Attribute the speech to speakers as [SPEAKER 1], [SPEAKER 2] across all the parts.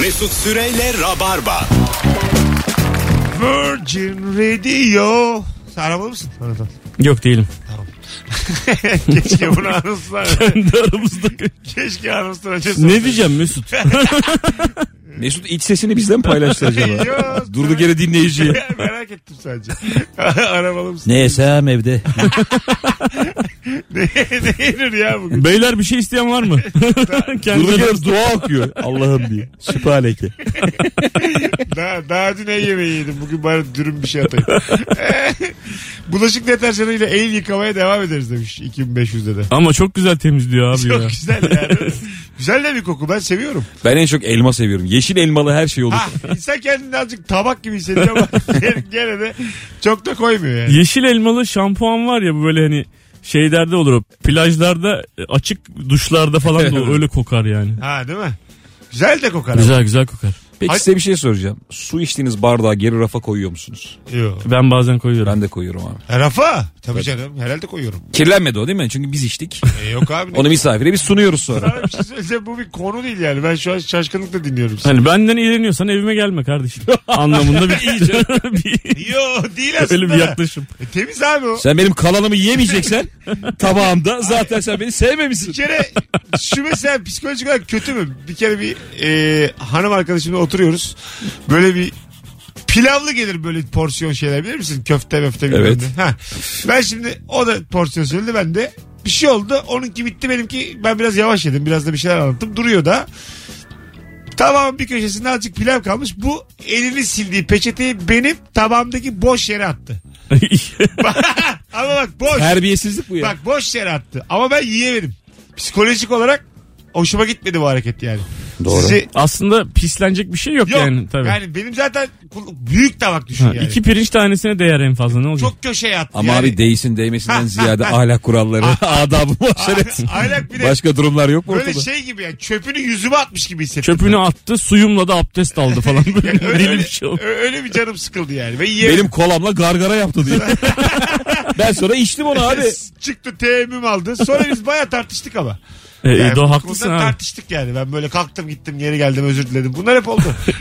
[SPEAKER 1] Mesut Süreyle Rabarba.
[SPEAKER 2] Virgin Radio. Sen arabalı mısın? Aradan.
[SPEAKER 3] Yok değilim.
[SPEAKER 2] Keşke bunu anonslar.
[SPEAKER 3] Kendi aramızda.
[SPEAKER 2] Keşke anonslar. açılsa.
[SPEAKER 3] ne diyeceğim Mesut?
[SPEAKER 4] Mesut iç sesini bizden paylaştı acaba.
[SPEAKER 2] Yok.
[SPEAKER 4] Durduk yere dinleyiciye.
[SPEAKER 2] Merak ettim sadece. arabalı mısın?
[SPEAKER 5] Ne yesem evde.
[SPEAKER 2] Ne, ne yenir ya bugün?
[SPEAKER 3] Beyler bir şey isteyen var mı? Kendi
[SPEAKER 4] Durduk
[SPEAKER 3] aramızda.
[SPEAKER 4] yere dua okuyor. Allah'ım diye. Süpaleke.
[SPEAKER 2] Daha, daha dün el yemeği yedim. Bugün bari dürüm bir şey atayım. Bulaşık deterjanıyla el yıkamaya devam ederiz demiş 2500'de de.
[SPEAKER 3] Ama çok güzel temizliyor abi ya.
[SPEAKER 2] Çok güzel yani. güzel de bir koku ben seviyorum.
[SPEAKER 4] Ben en çok elma seviyorum. Yeşil elmalı her şey olur.
[SPEAKER 2] Ha, insan kendini azıcık tabak gibi hissediyor ama gene de çok da koymuyor yani.
[SPEAKER 3] Yeşil elmalı şampuan var ya bu böyle hani şeylerde olur o plajlarda e, açık duşlarda falan da o, öyle kokar yani.
[SPEAKER 2] Ha değil mi? Güzel de kokar. ama.
[SPEAKER 3] Güzel güzel kokar.
[SPEAKER 4] Peki
[SPEAKER 2] Hay-
[SPEAKER 4] size bir şey soracağım. Su içtiğiniz bardağı geri rafa koyuyor musunuz?
[SPEAKER 2] Yo.
[SPEAKER 3] Ben bazen koyuyorum.
[SPEAKER 4] Ben de koyuyorum abi.
[SPEAKER 2] E, Rafa. Tabii canım. Herhalde koyuyorum.
[SPEAKER 4] Kirlenmedi o değil mi? Çünkü biz içtik.
[SPEAKER 2] E, yok abi. Ne?
[SPEAKER 4] Onu misafire biz sunuyoruz sonra.
[SPEAKER 2] Sana bir şey söyleyeceğim. Bu bir konu değil yani. Ben şu an şaşkınlıkla dinliyorum sizi.
[SPEAKER 3] Hani benden iğreniyorsan evime gelme kardeşim. Anlamında bir, bir
[SPEAKER 2] Yo değil aslında.
[SPEAKER 3] öyle bir yaklaşım.
[SPEAKER 2] E, temiz abi o.
[SPEAKER 4] Sen benim kalanımı yemeyeceksen tabağımda zaten sen beni sevmemişsin.
[SPEAKER 2] bir kere şu mesela psikolojik olarak kötü mü? Bir kere bir e, hanım arkadaşımla oturuyoruz. Böyle bir pilavlı gelir böyle porsiyon şeyler bilir misin? Köfte möfte bilmem
[SPEAKER 4] Evet.
[SPEAKER 2] ne. Ha. Ben şimdi o da porsiyon söyledi ben de. Bir şey oldu. Onunki bitti benimki. Ben biraz yavaş yedim. Biraz da bir şeyler anlattım. Duruyor da. Tamam bir köşesinde azıcık pilav kalmış. Bu elini sildiği peçeteyi benim tabağımdaki boş yere attı. Ama bak boş.
[SPEAKER 4] Terbiyesizlik bu ya.
[SPEAKER 2] Bak boş yere attı. Ama ben yiyemedim. Psikolojik olarak hoşuma gitmedi bu hareket yani.
[SPEAKER 4] Doğru.
[SPEAKER 2] Sizi-
[SPEAKER 3] Aslında pislenecek bir şey yok,
[SPEAKER 2] yok.
[SPEAKER 3] yani
[SPEAKER 2] Yani,
[SPEAKER 3] tabii.
[SPEAKER 2] benim zaten kul- büyük tabak düşün
[SPEAKER 3] Ha,
[SPEAKER 2] yani.
[SPEAKER 3] İki pirinç tanesine değer en fazla ne olacak?
[SPEAKER 2] Çok köşeye attı.
[SPEAKER 4] Ama
[SPEAKER 2] yani.
[SPEAKER 4] abi değsin değmesinden ziyade ahlak kuralları, adabı muhaşeret.
[SPEAKER 2] Aylak bir de
[SPEAKER 4] Başka durumlar yok mu
[SPEAKER 2] böyle
[SPEAKER 4] ortada?
[SPEAKER 2] şey gibi yani çöpünü yüzüme atmış gibi hissettim.
[SPEAKER 3] Çöpünü attı suyumla da abdest aldı falan. Böyle
[SPEAKER 2] Öyle-
[SPEAKER 3] deli bir
[SPEAKER 2] öyle,
[SPEAKER 3] şey oldu.
[SPEAKER 2] ö- öyle bir canım sıkıldı yani. Ve yiyemedim.
[SPEAKER 4] Benim kolamla gargara yaptı diye. ben sonra içtim onu abi.
[SPEAKER 2] Çıktı teemmüm aldı. Sonra biz baya tartıştık ama.
[SPEAKER 3] E, e,
[SPEAKER 2] Yani
[SPEAKER 3] doğru,
[SPEAKER 2] bu
[SPEAKER 3] haklısın
[SPEAKER 2] konuda
[SPEAKER 3] abi.
[SPEAKER 2] tartıştık yani. Ben böyle kalktım gittim geri geldim özür diledim. Bunlar hep oldu.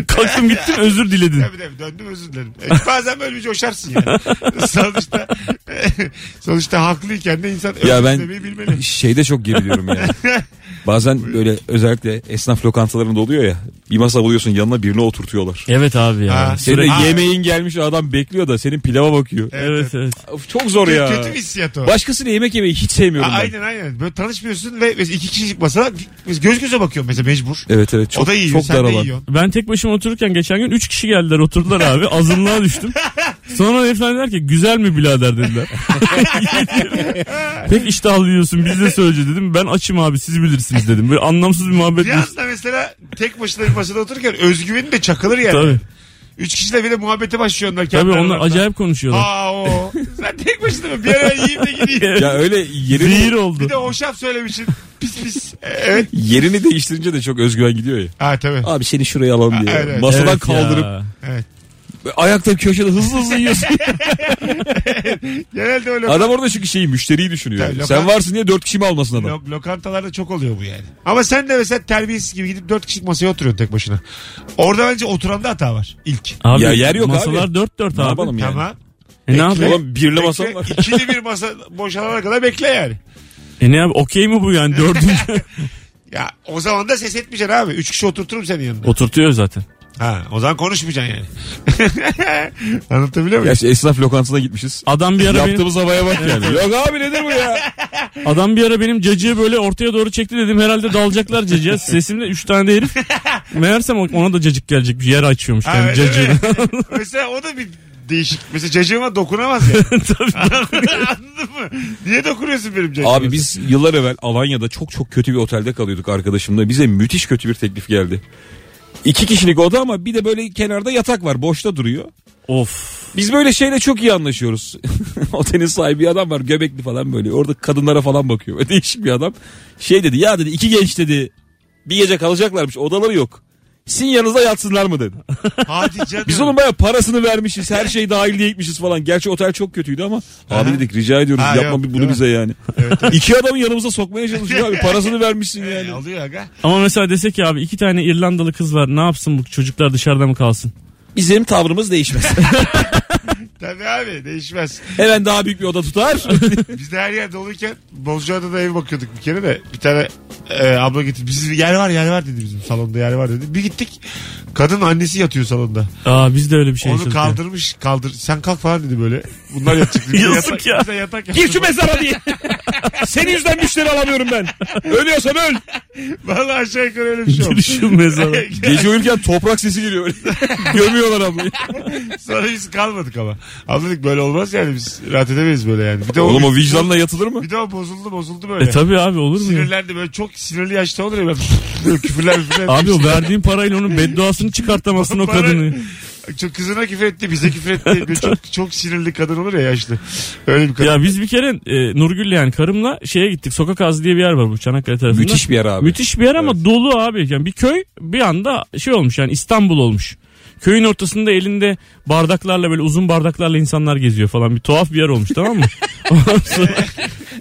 [SPEAKER 3] Kalktım gittim özür diledin.
[SPEAKER 2] Tabii tabii döndüm özür dilerim. E, bazen böyle bir coşarsın yani. sonuçta sonuçta haklıyken de insan özür
[SPEAKER 4] Ya ben
[SPEAKER 2] dilemeyi bilmeli.
[SPEAKER 4] şeyde çok geriliyorum yani. Bazen böyle özellikle esnaf lokantalarında oluyor ya. Bir masa buluyorsun yanına birini oturtuyorlar.
[SPEAKER 3] Evet abi ya.
[SPEAKER 2] Ha.
[SPEAKER 4] Senin de
[SPEAKER 2] Sürekli-
[SPEAKER 4] yemeğin gelmiş adam bekliyor da senin pilava bakıyor.
[SPEAKER 3] Evet evet.
[SPEAKER 4] Of, çok zor
[SPEAKER 2] Kötü-
[SPEAKER 4] ya.
[SPEAKER 2] Kötü bir hissiyat o.
[SPEAKER 4] Başkasıyla yemek yemeyi hiç
[SPEAKER 2] A-
[SPEAKER 4] sevmiyorum ben.
[SPEAKER 2] aynen aynen. Böyle tanışmıyorsun ve mesela iki kişilik masada biz göz göze bakıyorum mesela mecbur.
[SPEAKER 4] Evet evet çok,
[SPEAKER 2] o da yiyor
[SPEAKER 4] çok
[SPEAKER 2] sen
[SPEAKER 4] dar
[SPEAKER 2] de
[SPEAKER 4] alan.
[SPEAKER 2] yiyorsun.
[SPEAKER 3] Ben tek başıma otururken geçen gün 3 kişi geldiler oturdular abi. Azınlığa düştüm. Sonra herifler dediler ki güzel mi birader dediler. Pek iştahlı yiyorsun biz de söyleyeceğiz dedim. Ben açım abi siz bilirsiniz dedim. Böyle anlamsız bir muhabbet.
[SPEAKER 2] Biraz da mesela tek başına bir masada otururken özgüveni de çakılır yani.
[SPEAKER 3] Tabii.
[SPEAKER 2] Üç kişiyle bir de muhabbete başlıyorlar. kendi
[SPEAKER 3] Tabii onlar
[SPEAKER 2] aralarında.
[SPEAKER 3] acayip konuşuyorlar.
[SPEAKER 2] Aa o. Sen tek başına mı? Bir ara yiyeyim de gideyim.
[SPEAKER 4] Ya öyle yerini,
[SPEAKER 3] Zehir
[SPEAKER 2] Bir
[SPEAKER 3] oldu.
[SPEAKER 2] de hoşaf söylemişsin. Pis pis. Evet.
[SPEAKER 4] yerini değiştirince de çok özgüven gidiyor ya.
[SPEAKER 2] Ha tabii.
[SPEAKER 4] Abi seni şuraya alalım diye.
[SPEAKER 2] Aa, evet.
[SPEAKER 4] Masadan
[SPEAKER 3] Evet
[SPEAKER 4] kaldırıp
[SPEAKER 3] ya.
[SPEAKER 4] ayakta köşede hızlı hızlı yiyorsun.
[SPEAKER 2] Genelde öyle.
[SPEAKER 4] adam orada çünkü şeyi müşteriyi düşünüyor.
[SPEAKER 2] Tabii,
[SPEAKER 4] yani.
[SPEAKER 2] lokal-
[SPEAKER 4] Sen varsın diye dört kişi mi almasın adam?
[SPEAKER 2] Lo- lokantalarda çok oluyor bu yani. Ama sen de mesela terbiyesiz gibi gidip dört kişilik masaya oturuyorsun tek başına. Orada bence oturanda hata var ilk.
[SPEAKER 3] Abi,
[SPEAKER 4] Ya yer yok abi.
[SPEAKER 3] masalar 4-4
[SPEAKER 4] Ne
[SPEAKER 3] abi.
[SPEAKER 4] yapalım yani?
[SPEAKER 2] Tamam.
[SPEAKER 3] E ne yapalım?
[SPEAKER 4] Oğlum birli masam
[SPEAKER 2] Bekle,
[SPEAKER 4] var.
[SPEAKER 2] İkili bir masa boşalana kadar bekle yani.
[SPEAKER 3] E ne yap? Okey mi bu yani dördüncü?
[SPEAKER 2] Ya o zaman da ses etmeyeceksin abi. Üç kişi oturturum senin yanında.
[SPEAKER 3] Oturtuyor zaten.
[SPEAKER 2] Ha, o zaman konuşmayacaksın yani. Anlatabiliyor muyum?
[SPEAKER 4] Gerçi esnaf lokantasına gitmişiz.
[SPEAKER 3] Adam bir ara benim,
[SPEAKER 4] Yaptığımız havaya bak yani. Yok abi nedir bu ya?
[SPEAKER 3] adam bir ara benim cacığı böyle ortaya doğru çekti dedim herhalde dalacaklar cacığa. Sesimle 3 tane de herif. Meğersem ona da cacık gelecek bir yer açıyormuş
[SPEAKER 2] Ha,
[SPEAKER 3] yani
[SPEAKER 2] öyle mi?
[SPEAKER 3] cacığını.
[SPEAKER 2] mesela o da bir değişik. Mesela cacığıma dokunamaz yani. Anladın mı? Niye dokunuyorsun benim cacığıma?
[SPEAKER 4] Abi biz yıllar evvel Alanya'da çok çok kötü bir otelde kalıyorduk arkadaşımla. Bize müthiş kötü bir teklif geldi. İki kişilik oda ama bir de böyle kenarda yatak var. Boşta duruyor.
[SPEAKER 3] of.
[SPEAKER 4] Biz böyle şeyle çok iyi anlaşıyoruz. Otelin sahibi bir adam var göbekli falan böyle. Orada kadınlara falan bakıyor. Böyle değişik bir adam. Şey dedi ya dedi iki genç dedi. Bir gece kalacaklarmış odaları yok. Sizin yanınızda yatsınlar mı dedi.
[SPEAKER 2] Hadi canım.
[SPEAKER 4] Biz onun baya parasını vermişiz. Her şey dahil diye gitmişiz falan. Gerçi otel çok kötüydü ama abi dedik rica ediyoruz
[SPEAKER 2] Ha,
[SPEAKER 4] yapma
[SPEAKER 2] yok,
[SPEAKER 4] bir
[SPEAKER 2] değil
[SPEAKER 4] bunu
[SPEAKER 2] mi?
[SPEAKER 4] bize yani. İki adamı yanımıza sokmaya çalışıyor abi. Parasını vermişsin yani.
[SPEAKER 2] E, alıyor aga.
[SPEAKER 3] Ama mesela desek ki abi iki tane İrlandalı kız var ne yapsın bu çocuklar dışarıda mı kalsın?
[SPEAKER 4] Bizim tavrımız değişmez.
[SPEAKER 2] Tabii abi değişmez.
[SPEAKER 4] Hemen daha büyük bir oda tutar.
[SPEAKER 2] Biz de her yerde olurken Bozcaada'da ev bakıyorduk bir kere de. Bir tane e, abla getirdi. Biz yer var yer var dedi bizim salonda yer var dedi. Bir gittik. Kadın annesi yatıyor salonda.
[SPEAKER 3] Aa biz de öyle bir şey
[SPEAKER 2] Onu
[SPEAKER 3] yaşadık ya.
[SPEAKER 2] kaldırmış kaldır. Sen kalk falan dedi böyle. Bunlar yatacak. Biz de
[SPEAKER 3] Yazık
[SPEAKER 2] yatak-
[SPEAKER 3] ya.
[SPEAKER 2] Biz de yatak
[SPEAKER 4] Gir
[SPEAKER 2] yaptık.
[SPEAKER 4] şu mezara diye. Senin yüzünden müşteri alamıyorum ben. Ölüyorsan öl.
[SPEAKER 2] Vallahi aşağı yukarı öyle bir şey olmuş.
[SPEAKER 3] Düşün mezara.
[SPEAKER 4] Gece uyurken toprak sesi geliyor. öyle. Gömüyorlar ablayı.
[SPEAKER 2] Sonra biz kalmadık ama. Abla dedik böyle olmaz yani biz rahat edemeyiz böyle yani. Bir de
[SPEAKER 4] Oğlum o vicdanla yatılır mı?
[SPEAKER 2] Bir de o bozuldu bozuldu böyle.
[SPEAKER 3] E tabi abi olur mu? ya?
[SPEAKER 2] Sinirlendi böyle çok sinirli yaşta olur ya böyle, böyle küfürler küfürler.
[SPEAKER 3] Abi o verdiğin parayla onun bedduasını çıkartamazsın o
[SPEAKER 2] Para-
[SPEAKER 3] kadını.
[SPEAKER 2] Çok kızına küfür etti bize küfür etti. Böyle çok, çok sinirli kadın olur ya yaşlı. Öyle bir kadın.
[SPEAKER 3] Ya biz bir kere e, Nurgül'le yani karımla şeye gittik. Sokak Ağzı diye bir yer var bu Çanakkale tarafında.
[SPEAKER 4] Müthiş bir yer abi.
[SPEAKER 3] Müthiş bir yer ama dolu abi. Yani bir köy bir anda şey olmuş yani İstanbul olmuş. Köyün ortasında elinde bardaklarla böyle uzun bardaklarla insanlar geziyor falan. Bir tuhaf bir yer olmuş tamam mı? Ondan sonra-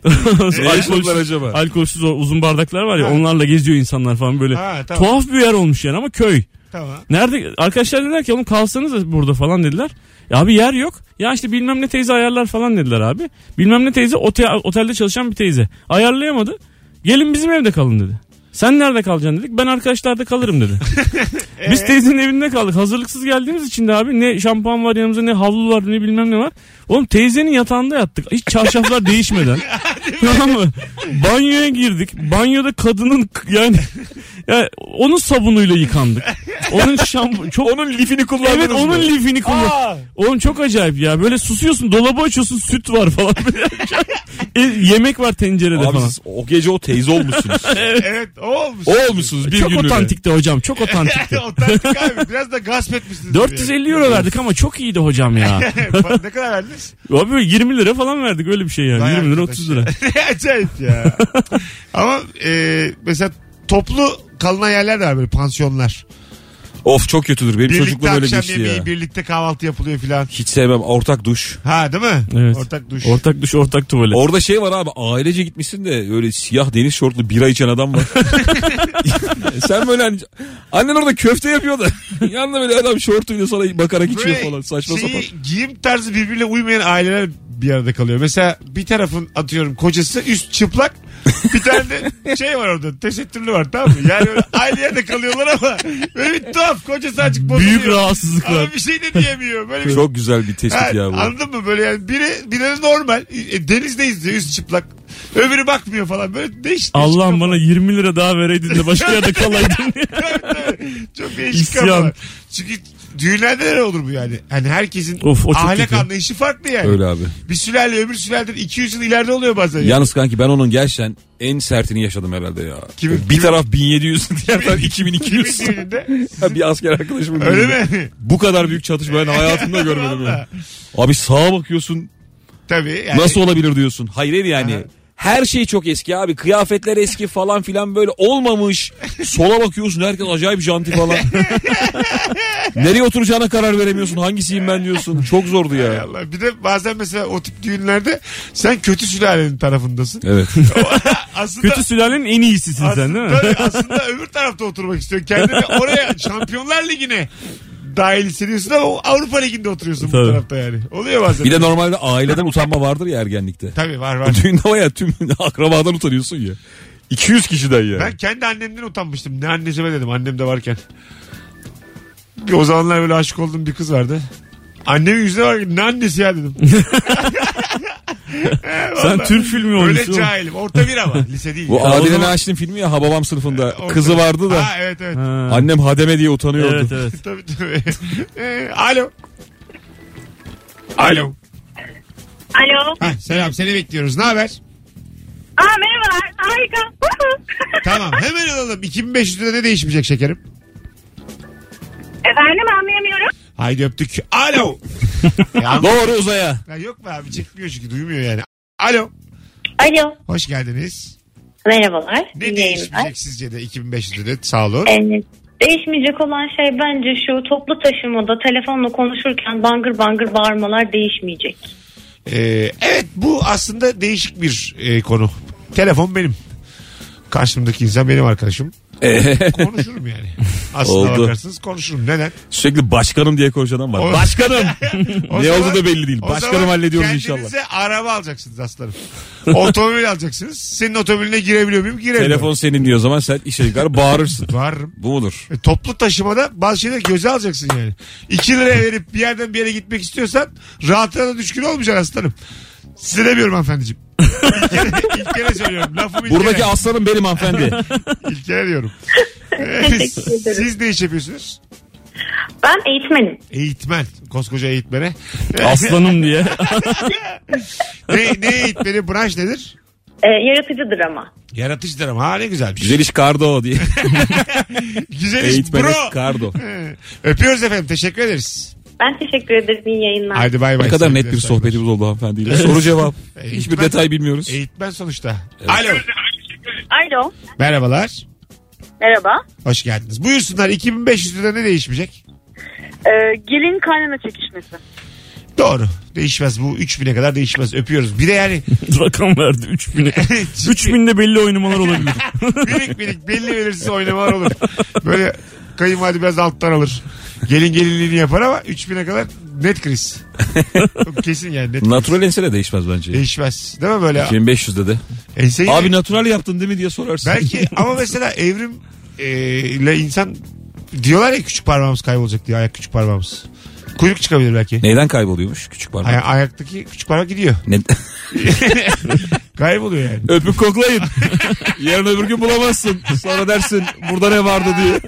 [SPEAKER 3] ondan sonra
[SPEAKER 4] Alkolsüzler acaba?
[SPEAKER 3] alkolsüz o uzun bardaklar var ya onlarla geziyor insanlar falan böyle.
[SPEAKER 2] Ha, tamam.
[SPEAKER 3] Tuhaf bir yer olmuş yani ama köy.
[SPEAKER 2] Tamam.
[SPEAKER 3] Nerede arkadaşlar dediler ki oğlum kalsanız da burada falan dediler. Ya abi yer yok. Ya işte bilmem ne teyze ayarlar falan dediler abi. Bilmem ne teyze ote- otelde çalışan bir teyze. Ayarlayamadı. Gelin bizim evde kalın dedi. Sen nerede kalacaksın dedik. Ben arkadaşlarda kalırım dedi. Biz teyzenin evinde kaldık. Hazırlıksız geldiğimiz için de abi ne şampuan var yanımızda ne havlu var ne bilmem ne var. Oğlum teyzenin yatağında yattık. Hiç çarşaflar değişmeden. tamam mı? Banyoya girdik. Banyoda kadının k- yani, yani onun sabunuyla yıkandık. Onun şampu çok
[SPEAKER 4] Onun lifini kullandınız
[SPEAKER 3] Evet
[SPEAKER 4] mı?
[SPEAKER 3] onun lifini kullan.
[SPEAKER 2] Aa,
[SPEAKER 3] Oğlum çok acayip ya. Böyle susuyorsun, dolabı açıyorsun, süt var falan. E, yemek var tencerede
[SPEAKER 4] Abi
[SPEAKER 3] falan.
[SPEAKER 4] siz o gece o teyze olmuşsunuz.
[SPEAKER 2] E, evet o olmuş.
[SPEAKER 4] o olmuşsunuz bir
[SPEAKER 3] Çok
[SPEAKER 4] günlüğüne.
[SPEAKER 3] otantikti hocam, çok otantikti.
[SPEAKER 2] Otantik abi. Biraz da gasp etmişsiniz.
[SPEAKER 3] 450 euro verdik ama çok iyiydi hocam ya.
[SPEAKER 2] Yani. ne kadar verdiniz?
[SPEAKER 3] Abi böyle 20 lira falan verdik öyle bir şey yani.
[SPEAKER 2] Vay
[SPEAKER 3] 20 lira
[SPEAKER 2] arkadaş
[SPEAKER 3] 30 lira.
[SPEAKER 2] Ne acayip ya. Ama e, mesela toplu kalınan yerler de var böyle pansiyonlar.
[SPEAKER 4] Of çok kötüdür. Benim
[SPEAKER 2] Birlikte
[SPEAKER 4] çocukluğum öyle
[SPEAKER 2] akşam
[SPEAKER 4] geçti
[SPEAKER 2] yemeği,
[SPEAKER 4] ya.
[SPEAKER 2] birlikte kahvaltı yapılıyor filan.
[SPEAKER 4] Hiç sevmem ortak duş.
[SPEAKER 2] Ha değil mi?
[SPEAKER 3] Evet.
[SPEAKER 2] Ortak duş.
[SPEAKER 3] Ortak duş, ortak tuvalet.
[SPEAKER 4] Orada şey var abi ailece gitmişsin de öyle siyah deniz şortlu bira içen adam var. Sen böyle hani, annen orada köfte yapıyor da yanında böyle adam şortuyla sana bakarak içiyor
[SPEAKER 2] Böyle
[SPEAKER 4] falan saçma
[SPEAKER 2] şeyi,
[SPEAKER 4] sapan.
[SPEAKER 2] Giyim tarzı birbirine uymayan aileler bir arada kalıyor. Mesela bir tarafın atıyorum kocası üst çıplak bir tane de şey var orada tesettürlü var tamam mı? Yani öyle aile yerde kalıyorlar ama böyle bir tuhaf kocası açık bozuluyor.
[SPEAKER 3] Büyük rahatsızlık var.
[SPEAKER 2] Ama bir şey de diyemiyor. Böyle bir
[SPEAKER 4] Çok güzel bir tespit
[SPEAKER 2] Ha,
[SPEAKER 4] ya bu.
[SPEAKER 2] anladın mı böyle yani biri biri normal e, denizdeyiz diyor üst çıplak öbürü bakmıyor falan böyle değişik
[SPEAKER 3] Allah'ım bana 20 lira daha vereydin de başka yerde kalaydın.
[SPEAKER 2] değişik- çok değişik
[SPEAKER 3] İsyan.
[SPEAKER 2] kafalar. çünkü düğünlerde de olur bu yani hani herkesin
[SPEAKER 3] Of, o çok
[SPEAKER 2] ahlak
[SPEAKER 3] kötü.
[SPEAKER 2] anlayışı farklı yani
[SPEAKER 4] Öyle abi.
[SPEAKER 2] bir sülale öbür sülaleden 200 yıl ileride oluyor bazen. Ya.
[SPEAKER 4] Yalnız kanki ben onun gerçekten en sertini yaşadım herhalde ya.
[SPEAKER 2] Kimin-
[SPEAKER 4] bir taraf 1700, diğer taraf 2200.
[SPEAKER 2] Düğününde.
[SPEAKER 4] bir asker arkadaşımın
[SPEAKER 2] Öyle
[SPEAKER 4] düğünü.
[SPEAKER 2] mi?
[SPEAKER 4] Bu kadar büyük çatışma ben hayatımda görmedim. ya.
[SPEAKER 2] Valla.
[SPEAKER 4] Abi sağa bakıyorsun
[SPEAKER 2] Tabii. Yani,
[SPEAKER 4] Nasıl olabilir diyorsun? Hayır hayır yani.
[SPEAKER 2] Aha.
[SPEAKER 4] Her şey çok eski abi. Kıyafetler eski falan filan böyle olmamış. Sola bakıyorsun herkes acayip janti falan. Nereye oturacağına karar veremiyorsun. Hangisiyim ben diyorsun. Çok zordu
[SPEAKER 2] Hay
[SPEAKER 4] ya.
[SPEAKER 2] Allah. Bir de bazen mesela o tip düğünlerde sen kötü sülalenin tarafındasın.
[SPEAKER 4] Evet.
[SPEAKER 2] aslında,
[SPEAKER 3] Kötü sülalenin en iyisisin sen değil mi?
[SPEAKER 2] aslında, aslında öbür tarafta oturmak istiyorsun. Kendini oraya Şampiyonlar Ligi'ne dahil hissediyorsun ama o Avrupa Ligi'nde oturuyorsun bu
[SPEAKER 3] Tabii.
[SPEAKER 2] tarafta yani. Oluyor bazen.
[SPEAKER 4] Bir de normalde aileden utanma vardır ya ergenlikte.
[SPEAKER 2] Tabii var var.
[SPEAKER 4] Düğünde var ya tüm akrabadan utanıyorsun ya. 200 kişiden ya.
[SPEAKER 2] Ben kendi annemden utanmıştım. Ne annesime dedim annem de varken. Bir O zamanlar böyle aşık olduğum bir kız vardı. Annemin yüzüne bak ne annesi ya dedim.
[SPEAKER 3] Sen Türk filmi
[SPEAKER 2] Öyle
[SPEAKER 3] oyuncusun.
[SPEAKER 2] cahilim. Orta bir ama. Lise değil.
[SPEAKER 4] Bu
[SPEAKER 2] Ya.
[SPEAKER 3] o
[SPEAKER 4] Adile
[SPEAKER 3] zaman-
[SPEAKER 4] Naşit'in filmi ya Hababam sınıfında.
[SPEAKER 2] Orta-
[SPEAKER 4] Kızı vardı da.
[SPEAKER 2] Ha, evet evet.
[SPEAKER 3] Ha.
[SPEAKER 4] Annem hademe diye utanıyordu.
[SPEAKER 3] Evet evet.
[SPEAKER 2] Tabii tabii. Ee, alo. Alo.
[SPEAKER 5] Alo.
[SPEAKER 2] Ha, selam seni bekliyoruz. Ne haber?
[SPEAKER 5] Aa merhabalar. Harika.
[SPEAKER 2] Tamam hemen alalım. 2500 lira ne değişmeyecek şekerim?
[SPEAKER 5] Efendim anlayamıyorum.
[SPEAKER 2] Haydi öptük. Alo. ya,
[SPEAKER 4] Doğru uzaya.
[SPEAKER 2] ya yok be abi çekmiyor çünkü duymuyor yani. Alo.
[SPEAKER 5] Alo.
[SPEAKER 2] Hoş geldiniz.
[SPEAKER 5] Merhabalar.
[SPEAKER 2] Ne değişmeyecek sizce de 2500 lira? Sağ olun.
[SPEAKER 5] Ee, Değişmeyecek olan şey bence şu toplu taşımada telefonla konuşurken bangır bangır bağırmalar değişmeyecek.
[SPEAKER 2] Ee, evet bu aslında değişik bir e, konu. Telefon benim. Karşımdaki insan benim arkadaşım. konuşurum yani. Aslına
[SPEAKER 4] Ee, Oldu.
[SPEAKER 2] bakarsınız konuşurum. Neden?
[SPEAKER 4] Sürekli başkanım diye konuşan adam
[SPEAKER 2] O-
[SPEAKER 4] var. Başkanım.
[SPEAKER 2] O
[SPEAKER 4] ne
[SPEAKER 2] zaman-
[SPEAKER 4] oldu da belli değil.
[SPEAKER 2] o
[SPEAKER 4] Başkanım
[SPEAKER 2] zaman
[SPEAKER 4] hallediyoruz inşallah.
[SPEAKER 2] Kendinize araba alacaksınız aslanım. Otomobil alacaksınız. Senin otomobiline girebiliyor muyum? Giremiyorum.
[SPEAKER 4] Telefon senin diyor o zaman sen işe çıkar bağırırsın.
[SPEAKER 2] Varım.
[SPEAKER 4] Bu mudur?
[SPEAKER 2] E, toplu taşımada bazı şeyleri göze alacaksın yani. 2 liraya verip bir yerden bir yere gitmek istiyorsan rahatına da düşkün olmayacaksın aslanım. Size demiyorum hanımefendiciğim. ilk, kere, ilk kere söylüyorum. Lafımı ilk
[SPEAKER 4] Buradaki
[SPEAKER 2] kere,
[SPEAKER 4] aslanım benim hanımefendi.
[SPEAKER 2] ilk kere diyorum. E,
[SPEAKER 5] Teşekkür ederim.
[SPEAKER 2] Siz ne iş yapıyorsunuz?
[SPEAKER 5] Ben eğitmenim.
[SPEAKER 2] Eğitmen. Koskoca eğitmene.
[SPEAKER 3] Aslanım diye.
[SPEAKER 2] ne, ne eğitmeni? Branş nedir?
[SPEAKER 5] Ee, yaratıcıdır ama.
[SPEAKER 2] Yaratıcıdır ama ha ne güzelmiş.
[SPEAKER 4] Güzel iş kardo diye.
[SPEAKER 2] Güzel iş
[SPEAKER 4] Eğitmenik
[SPEAKER 2] bro.
[SPEAKER 4] kardo.
[SPEAKER 2] E, Öpüyoruz efendim. Teşekkür ederiz.
[SPEAKER 5] Ben teşekkür ederim. İyi yayınlar.
[SPEAKER 2] Haydi bay bay.
[SPEAKER 4] Ne kadar net
[SPEAKER 2] Sevgiler,
[SPEAKER 4] bir
[SPEAKER 2] saygılar.
[SPEAKER 4] sohbetimiz oldu hanımefendiyle. Soru cevap.
[SPEAKER 2] Eğitmen-
[SPEAKER 4] Hiçbir detay bilmiyoruz.
[SPEAKER 2] Eğitmen sonuçta. Alo.
[SPEAKER 5] Alo.
[SPEAKER 2] Merhabalar.
[SPEAKER 5] Merhaba.
[SPEAKER 2] Hoş geldiniz. Buyursunlar 2500 lira ne değişmeyecek?
[SPEAKER 5] Ee, gelin kaynana çekişmesi.
[SPEAKER 2] Doğru. Değişmez bu 3000'e kadar değişmez. Öpüyoruz. Bir de yani
[SPEAKER 3] Rakam verdi 3000'e. 3000'de belli oynamalar olabilir.
[SPEAKER 2] minik minik belli belirsiz oynamalar olur. Böyle kayınvalide biraz alttan alır. Gelin gelinliğini yapar ama 3000'e kadar net kriz. Çok Kesin yani net.
[SPEAKER 4] Natural ense de değişmez bence.
[SPEAKER 2] Değişmez. Değil mi böyle?
[SPEAKER 4] 2500 dedi.
[SPEAKER 2] Enseyi
[SPEAKER 4] Abi natural yaptın değil mi diye sorarsın.
[SPEAKER 2] belki ama mesela evrim e, ile insan diyorlar ya küçük parmağımız kaybolacak diye ayak küçük parmağımız. Kuyruk çıkabilir belki.
[SPEAKER 4] Neyden kayboluyormuş küçük parmak?
[SPEAKER 2] Ay- ayaktaki küçük parmak gidiyor.
[SPEAKER 4] Ne-
[SPEAKER 2] Kayboluyor yani.
[SPEAKER 4] Öpüp koklayın. Yarın öbür gün bulamazsın. Sonra dersin burada ne vardı diye.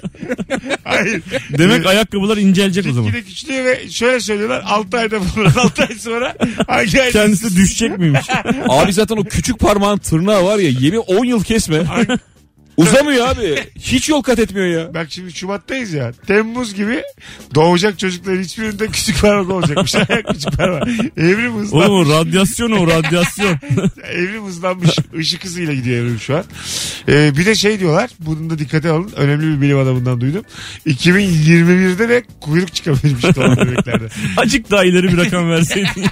[SPEAKER 2] Hayır.
[SPEAKER 3] Demek ayakkabılar incelecek o zaman.
[SPEAKER 2] Gide güçlüyor ve şöyle söylüyorlar 6 ayda buluruz 6 ay sonra hangi ay
[SPEAKER 3] Kendisi düşecek miymiş?
[SPEAKER 4] Abi zaten o küçük parmağın tırnağı var ya yemin 10 yıl kesme. Uzamıyor abi. Hiç yol kat etmiyor ya.
[SPEAKER 2] Bak şimdi Şubat'tayız ya. Temmuz gibi doğacak çocukların hiçbirinde küçük parmak olacakmış. Ayak küçük parmak. Evrim hızlanmış.
[SPEAKER 3] Oğlum o radyasyon o radyasyon.
[SPEAKER 2] Evrim hızlanmış. Işık hızıyla gidiyor evrim şu an. Ee, bir de şey diyorlar. Bunu da dikkate alın. Önemli bir bilim adamından duydum. 2021'de de kuyruk çıkabilirmiş doğan bebeklerde.
[SPEAKER 3] Acık daha ileri bir rakam verseydin.